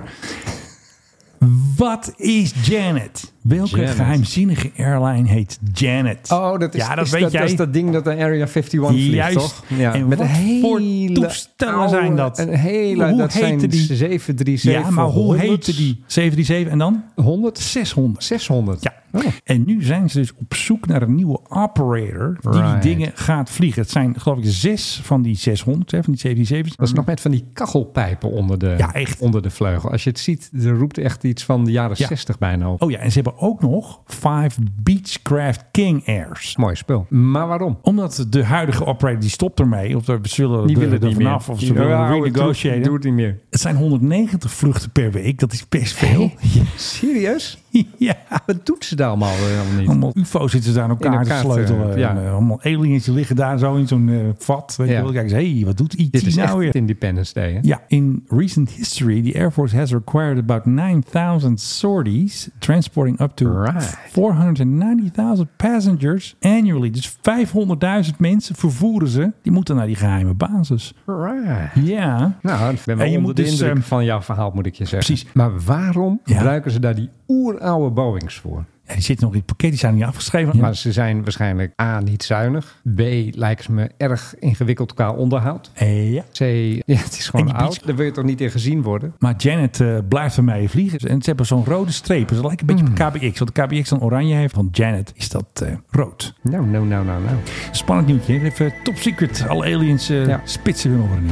S1: Wat is Janet? Welke
S2: Janet.
S1: geheimzinnige airline heet Janet?
S2: Oh, dat is,
S1: ja, dat
S2: is
S1: weet
S2: dat,
S1: jij.
S2: dat is dat ding dat de Area 51 vliegt,
S1: Juist.
S2: toch? Ja,
S1: En
S2: met
S1: wat
S2: een
S1: voor
S2: hele
S1: toestellen zijn dat?
S2: Een hele,
S1: Hoe
S2: dat zijn
S1: heette die?
S2: 737
S1: ja, maar hoe heette die? 737 en dan?
S2: 100?
S1: 600.
S2: 600.
S1: Ja. En nu zijn ze dus op zoek naar een nieuwe operator die
S2: Right.
S1: die dingen gaat vliegen. Het zijn geloof ik zes van die 600, hè, van die 777's.
S2: Dat is nog met van die kachelpijpen onder de,
S1: Mm. Ja, echt.
S2: onder de vleugel. Als je het ziet, er roept echt iets van de jaren
S1: Ja.
S2: 60 bijna op.
S1: Oh ja, en ze hebben ook nog vijf Beechcraft King Airs.
S2: Mooi spul. Maar waarom?
S1: Omdat de huidige operator die stopt ermee, of ze willen,
S2: Die
S1: er-
S2: willen
S1: er
S2: niet
S1: vanaf,
S2: meer.
S1: of ze
S2: Ja,
S1: willen
S2: oude
S1: renegotiaten.
S2: troep doet niet meer.
S1: Het zijn 190 vluchten per week, dat is best veel.
S2: Serieus?
S1: ja.
S2: Wat doet ze daar allemaal eh, allemaal niet?
S1: Allemaal UFO's zitten ze daar aan elkaar,
S2: In elkaar
S1: te sleutelen.
S2: te- ja.
S1: En, eh, allemaal aliens die liggen daar zo in zo'n eh, vat. Weet
S2: Ja.
S1: je wel, kijk eens, hey, wat doet IT
S2: Dit is
S1: nou
S2: echt
S1: weer?
S2: Independence Day, hè?
S1: Ja, in recent history, the Air Force has required about 9,000 sorties, transporting up to
S2: Right.
S1: 490,000 passengers annually. Dus 500.000 mensen vervoeren ze. Die moeten naar die geheime basis.
S2: Right.
S1: Ja.
S2: Nou, ik ben wel
S1: En je
S2: onder
S1: moet
S2: de
S1: dus,
S2: indruk
S1: ehm,
S2: van jouw verhaal, moet ik je zeggen.
S1: Precies.
S2: Maar waarom
S1: Ja.
S2: gebruiken ze daar die oeroude Boeings voor?
S1: ja, die zitten nog in het pakket, die zijn niet afgeschreven.
S2: Maar ze zijn waarschijnlijk A, niet zuinig. B, lijken ze me erg ingewikkeld qua onderhoud.
S1: Eh, ja.
S2: C, ja, het is
S1: En
S2: gewoon
S1: die
S2: oud.
S1: beach-
S2: Daar wil je toch niet in gezien worden?
S1: Maar Janet eh, blijft ermee vliegen. En ze hebben zo'n rode streep. Ze lijken een beetje op KBX. Want de KBX dan oranje heeft. Van Janet is dat eh, rood.
S2: Nou, nou, nou, nou, nou.
S1: Spannend nieuwtje. hè? Even eh, top secret. Alle aliens eh,
S2: Ja.
S1: spitsen hun oren nu.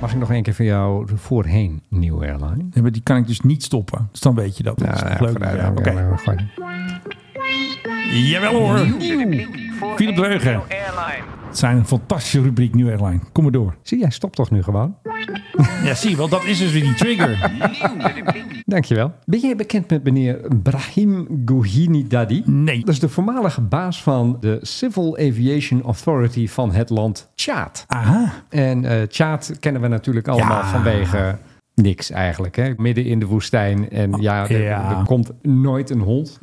S2: Mag ik nog één keer voor jou de voorheen nieuwe airline?
S1: Ja, maar Die kan ik dus niet stoppen. Dus dan weet je dat. dat is toch leuk. Ja,
S2: Oké.
S1: Oké. Jawel hoor. Philip Dreugen. Het zijn een fantastische rubriek New Airline. Kom maar door.
S2: Zie jij, stop toch nu gewoon?
S1: Ja, zie je wel. Dat is dus weer die trigger.
S2: Dankjewel. Ben jij bekend met meneer Brahim Gouhini Dadi?
S1: Nee.
S2: Dat is de voormalige baas van de Civil Aviation Authority van het land Tjaad.
S1: Aha.
S2: En eh Tjaad kennen we natuurlijk allemaal
S1: Ja.
S2: vanwege niks eigenlijk. Hè? Midden in de woestijn en ja, er,
S1: Oh, ja.
S2: er komt nooit een hond.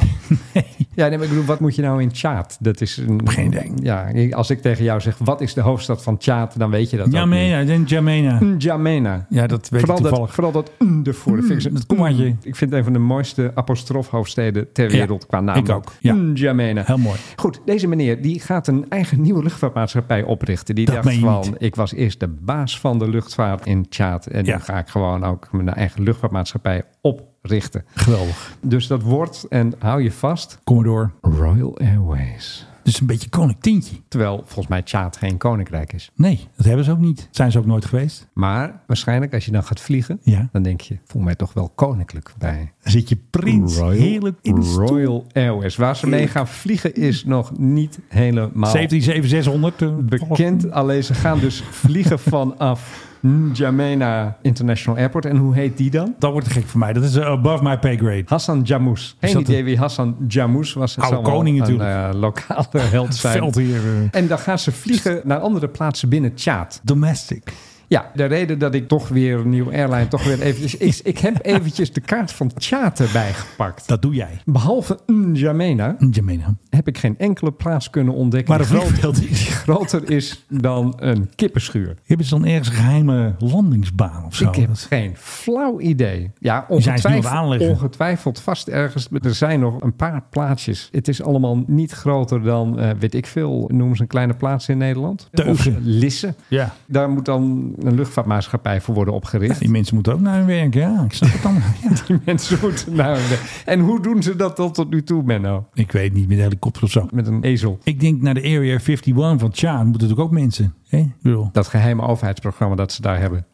S2: Ja, nee, maar ik bedoel, wat moet je nou in Tjaad? Dat is een...
S1: Geen idee.
S2: Ja, als ik tegen jou zeg, wat is de hoofdstad van Tjaad? Dan weet je dat ook niet.
S1: Jamena. ik denk Jamena.
S2: N'Djamena.
S1: Ja, dat weet
S2: Hmm. Vooral
S1: ik
S2: dat,
S1: toevallig.
S2: vooral dat n ervoor. Dat, vind ik, zo-
S1: dat kommaatje.
S2: Ik vind het een van de mooiste apostrofhoofdsteden ter wereld qua naam.
S1: ik ook, ja.
S2: N'Djamena.
S1: Heel mooi.
S2: Goed, deze meneer die gaat een eigen nieuwe luchtvaartmaatschappij oprichten. Die
S1: Dat
S2: dacht
S1: meen je
S2: van,
S1: niet.
S2: ik was eerst de baas van de luchtvaart in Tjaad. En
S1: Ja.
S2: nu ga ik gewoon ook mijn eigen luchtvaartmaatschappij oprichten.
S1: Geweldig.
S2: Dus dat wordt, en hou je vast,
S1: Kom maar door.
S2: Royal Airways.
S1: Dus een beetje koninklijk tintje.
S2: Terwijl volgens mij Tjaad geen koninkrijk is.
S1: Nee, dat hebben ze ook niet. Zijn ze ook nooit geweest?
S2: Maar waarschijnlijk als je dan gaat vliegen,
S1: Ja.
S2: dan denk je, voel mij toch wel koninklijk bij
S1: Dan zit je prins heerlijk in de stoel.
S2: Royal Airways. Waar ze mee gaan vliegen is nog niet helemaal
S1: 177600. eh,
S2: bekend. Alleen ze gaan dus vliegen vanaf N'Djamena International Airport. En hoe heet die dan?
S1: Dat wordt te gek voor mij. Dat is eh, above my pay grade.
S2: Hassan Jamous. Geen
S1: dat
S2: idee wie Hassan Jamous was. Het
S1: Oude
S2: zal wel
S1: koning
S2: een,
S1: natuurlijk.
S2: eh, lokale held zijn.
S1: Veld hier. eh,
S2: En dan gaan ze vliegen naar andere plaatsen binnen Tjaad.
S1: domestic.
S2: Ja, de reden dat ik toch weer een nieuw airline toch weer eventjes is, ik heb eventjes de kaart van Tjaat erbij gepakt.
S1: Dat doe jij.
S2: Behalve N'Djamena
S1: Jamena.
S2: heb ik geen enkele plaats kunnen ontdekken
S1: Maar een
S2: die groot-
S1: vliegveld is.
S2: groter is dan een kippenschuur.
S1: Hebben ze dan ergens een geheime landingsbaan of zo?
S2: Ik heb
S1: Dat-
S2: geen flauw idee. Ja,
S1: Oh, zijn ze nu aan het
S2: ongetwijfeld,
S1: aanleggen.
S2: ongetwijfeld vast ergens. maar Er zijn nog een paar plaatsjes. Het is allemaal niet groter dan, eh, weet ik veel, noem ze een kleine plaats in Nederland.
S1: Teugen.
S2: Of Lisse.
S1: Ja.
S2: Daar moet dan een luchtvaartmaatschappij voor worden opgericht.
S1: Die mensen moeten ook naar hun werk. Ja, ik snap het dan. Ja.
S2: Die mensen moeten naar hun werk. En hoe doen ze dat dan tot nu toe, Menno?
S1: Ik weet niet, met helikopter of zo.
S2: Met een ezel.
S1: Ik denk naar de Area 51 van Tjaan moeten natuurlijk ook mensen. Hè? Ik bedoel,
S2: Dat geheime overheidsprogramma dat ze daar hebben.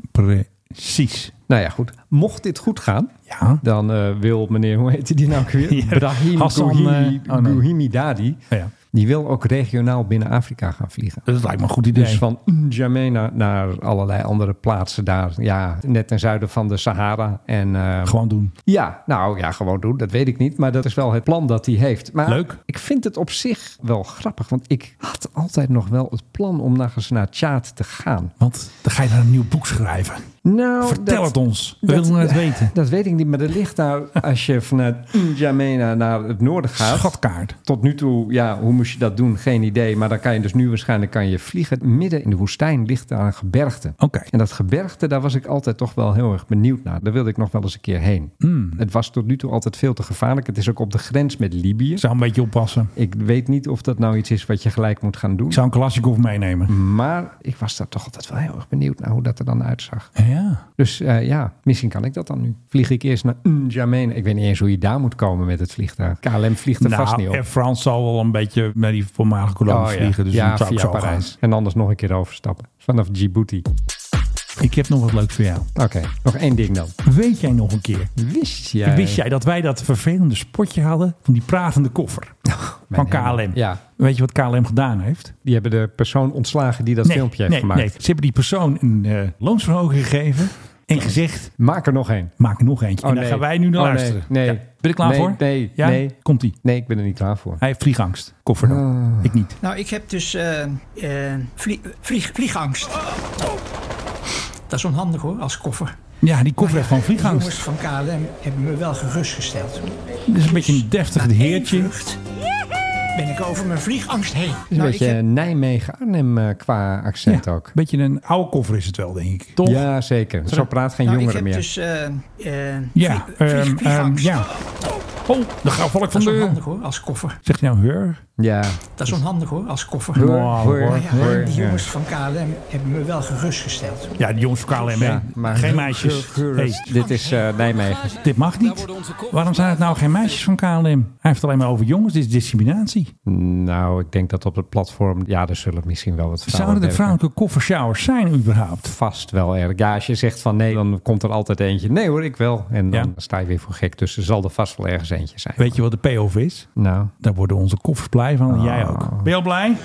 S1: precies.
S2: Nou ja, goed. Mocht dit goed gaan,
S1: Ja.
S2: dan eh, wil meneer, hoe heet die nou ook weer?
S1: Ja,
S2: Brahim
S1: Hassan,
S2: Gouhimi-
S1: eh, oh nee.
S2: Gouhimi Dadi.
S1: ja.
S2: Die wil ook regionaal binnen Afrika gaan vliegen.
S1: Dat lijkt me een goed idee.
S2: Dus van N'Djamena naar allerlei andere plaatsen daar. Ja, net ten zuiden van de Sahara. En eh,
S1: Gewoon doen.
S2: Ja, nou ja, gewoon doen. Dat weet ik niet. Maar dat is wel het plan dat hij heeft. Maar
S1: Leuk.
S2: ik vind het op zich wel grappig. Want ik had altijd nog wel het plan om naar eens naar Tjaad te gaan.
S1: Want dan ga je daar een nieuw boek schrijven.
S2: Nou,
S1: Vertel
S2: dat-
S1: het ons. We willen het weten.
S2: Dat weet ik niet. Maar er ligt daar, als je vanuit N'Djamena naar het noorden gaat...
S1: Schatkaart.
S2: Tot nu toe, ja, hoe moest je dat doen? Geen idee. Maar dan kan je dus nu waarschijnlijk kan je vliegen. Midden in de woestijn ligt daar een gebergte.
S1: Oké.
S2: En dat gebergte, daar was ik altijd toch wel heel erg benieuwd naar. Daar wilde ik nog wel eens een keer heen. Het was tot nu toe altijd veel te gevaarlijk. Het is ook op de grens met Libië.
S1: Ik zou een beetje oppassen.
S2: Ik weet niet of dat nou iets is wat je gelijk moet gaan doen. Mm.
S1: Ik zou een Kalashnikov meenemen.
S2: Maar ik was daar toch altijd wel heel erg benieuwd naar hoe dat er dan uitzag.
S1: Ja. Ja.
S2: Dus eh, ja, misschien kan ik dat dan nu. Vlieg ik eerst naar N'Djamena. Ik weet niet eens hoe je daar moet komen met het vliegtuig. KLM vliegt er vast niet
S1: Nou,
S2: op.
S1: Air France zal wel een beetje naar die voormalige kolonie
S2: Oh, ja.
S1: vliegen. Dus
S2: ja,
S1: dan zou ik
S2: via
S1: zo
S2: Parijs. En anders nog een keer overstappen. Vanaf Djibouti.
S1: gaan. Ik heb nog wat leuks voor jou.
S2: Oké, nog één ding dan.
S1: Weet jij nog een keer?
S2: Wist jij?
S1: Wist jij dat wij dat vervelende spotje hadden van die pratende koffer van
S2: hemel.
S1: KLM?
S2: Ja.
S1: Weet je wat KLM gedaan heeft?
S2: Die hebben de persoon ontslagen die dat filmpje heeft
S1: nee,
S2: gemaakt.
S1: nee. Ze hebben die persoon een eh, loonsverhoging gegeven en gezegd,
S2: Maak er nog één.
S1: maak er nog eentje.
S2: Oh,
S1: en daar
S2: nee.
S1: gaan wij nu naar
S2: Oh, nee,
S1: luisteren.
S2: nee.
S1: Ja. Ben je er klaar
S2: Nee,
S1: voor?
S2: nee,
S1: Ja?
S2: nee.
S1: Komt-ie.
S2: Nee, ik ben er niet klaar voor.
S1: Hij heeft vliegangst. Koffer dan.
S2: Ah.
S1: Ik niet.
S11: Nou, ik heb dus eh, eh, vlie- vlieg- vliegangst. Dat is onhandig hoor, als koffer.
S1: Ja, die koffer heeft gewoon
S11: De
S1: vliegangst.
S11: jongens van KLM hebben me wel gerustgesteld.
S1: Dit is een beetje een deftig
S11: Na één
S1: heertje.
S11: vlucht Ben ik over mijn vliegangst heen.
S2: Het is een
S11: Nou, ik
S2: beetje
S11: heb-
S2: Nijmegen-Arnhem eh, qua accent
S1: Ja,
S2: ook.
S1: beetje een oude koffer is het wel, denk ik. Toch?
S2: Ja, zeker. Zo praat geen
S11: nou, ik
S2: jongere
S11: heb
S2: meer.
S11: dus eh, eh,
S1: Ja,
S11: vlie- vlieg-
S1: ehm, ehm,
S11: vliegangst.
S1: ja. Oh, de gauw val ik van
S11: Dat is
S1: de...
S11: onhandig hoor, als koffer.
S1: Zegt hij nou heur?
S2: Ja.
S11: Dat is onhandig hoor, als koffer.
S2: Hoor,
S1: Wow,
S2: hoor,
S1: hoor,
S11: Maar Nou, ja,
S2: hoor.
S11: die
S2: Ja.
S11: jongens van KLM hebben me wel gerustgesteld.
S1: Ja, die jongens van KLM,
S2: Ja,
S1: hè? Geen meisjes.
S2: geur- geur-
S1: Hey,
S2: Dit is eh, Nijmegen.
S1: dit mag niet. Waarom zijn het nou geen meisjes van KLM? Hij heeft het alleen maar over jongens. Dit is discriminatie.
S2: Nou, ik denk dat op het platform... Ja, er zullen misschien wel wat vrouwen
S1: Zouden er
S2: werken.
S1: vrouwelijke koffershowers zijn überhaupt?
S2: Vast wel erg. Ja, als je zegt van nee, dan komt er altijd eentje. Nee hoor, ik wel. En dan
S1: Ja.
S2: sta je weer voor gek. Dus er zal er vast wel ergens eentje zijn.
S1: Weet je wat de payoff is?
S2: Nou,
S1: Daar worden onze koffers blij van. En
S2: Oh.
S1: jij ook. Ben je al blij?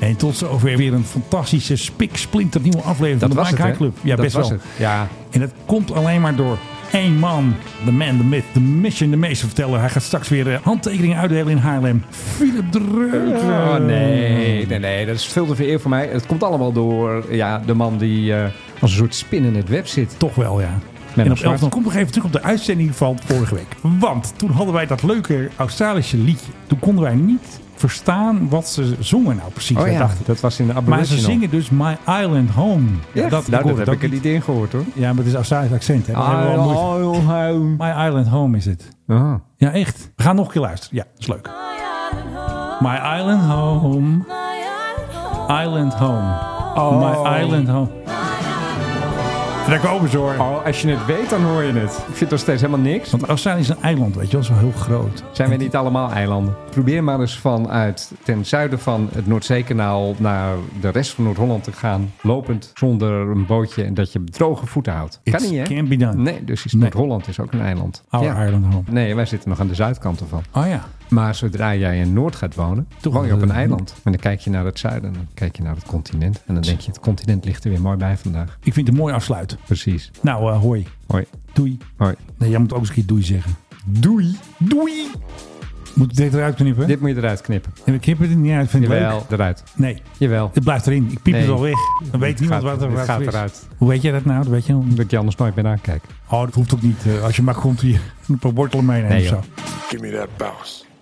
S1: En tot zover weer een fantastische spiksplinter nieuwe aflevering
S2: dat
S1: van de
S2: was het,
S1: Mike
S2: hè?
S1: High Club. Ja,
S2: dat
S1: best
S2: was
S1: wel.
S2: Het. Ja,
S1: En dat komt alleen maar door één man. De man, de myth, de mission, de meester vertellen. Hij gaat straks weer eh, handtekeningen uitdelen in Haarlem. Philip Dreugen.
S2: Oh, nee, nee, nee. Dat is veel te veel eer voor mij. Het komt allemaal door ja, de man die eh, als een soort spin in het web zit.
S1: Toch wel, ja. en op
S2: Zwart.
S1: 11 dan kom ik nog even terug op de uitzending van vorige week. Want toen hadden wij dat leuke Australische liedje. Toen konden wij niet verstaan wat ze zongen nou precies.
S2: Oh
S1: Wij
S2: ja,
S1: dachten,
S2: dat was in de
S1: maar
S2: aboriginal.
S1: ze zingen dus My Island Home.
S2: Echt?
S1: dat,
S2: nou,
S1: hoor
S2: dat heb ik er niet in gehoord hoor.
S1: Ja, maar het is Australisch accent. Hè? Dat hebben we al moeite. My Island Home is het.
S2: Ah,
S1: Ja, echt. We gaan nog een keer luisteren. Ja, dat is leuk. My Island Home. Island Home.
S2: Oh.
S1: My Island Home. En daar komen ze hoor.
S2: Oh, als je het weet, dan hoor je het. Ik vind het nog steeds helemaal niks.
S1: Want Australië is een eiland, weet je wel. Zo heel groot.
S2: Zijn we niet allemaal eilanden? Probeer maar eens vanuit ten zuiden van het Noordzeekanaal naar de rest van Noord-Holland te gaan. Lopend zonder een bootje en dat je droge voeten houdt.
S1: It
S2: kan niet, hè?
S1: can't be done.
S2: Nee, dus is
S1: Nee.
S2: Noord-Holland is ook een eiland.
S1: Our island home.
S2: Nee, wij zitten nog aan de zuidkant ervan.
S1: Oh ja.
S2: Maar zodra jij in Noord gaat wonen,
S1: Toch
S2: woon je op
S1: wel,
S2: een
S1: eh,
S2: eiland. En dan kijk je naar het zuiden, en dan kijk je naar het continent. En dan denk je, het continent ligt er weer mooi bij vandaag.
S1: Ik vind het een mooi afsluit.
S2: Precies.
S1: Nou, eh, hoi.
S2: Hoi.
S1: Doei.
S2: Hoi.
S1: Nee, jij moet ook eens een keer doei zeggen.
S2: Doei. Doei.
S1: Moet ik dit eruit knippen?
S2: Dit moet je eruit knippen.
S1: En ik knip het er niet uit, vind ik
S2: Jawel,
S1: leuk.
S2: eruit.
S1: Nee,
S2: Jawel.
S1: het blijft erin. Ik piep
S2: Nee.
S1: het al weg. Dan weet niemand
S2: gaat-
S1: wat er
S2: dit
S1: wat
S2: gaat
S1: is.
S2: eruit.
S1: Hoe weet jij dat nou? Dat weet je wel.
S2: Dat ik je anders nooit meer aankijk.
S1: Oh, dat hoeft ook niet. eh, Als je maar komt hier een paar wortelen meenemen
S2: Nee,
S1: of zo.
S2: joh.
S9: Give me that bounce.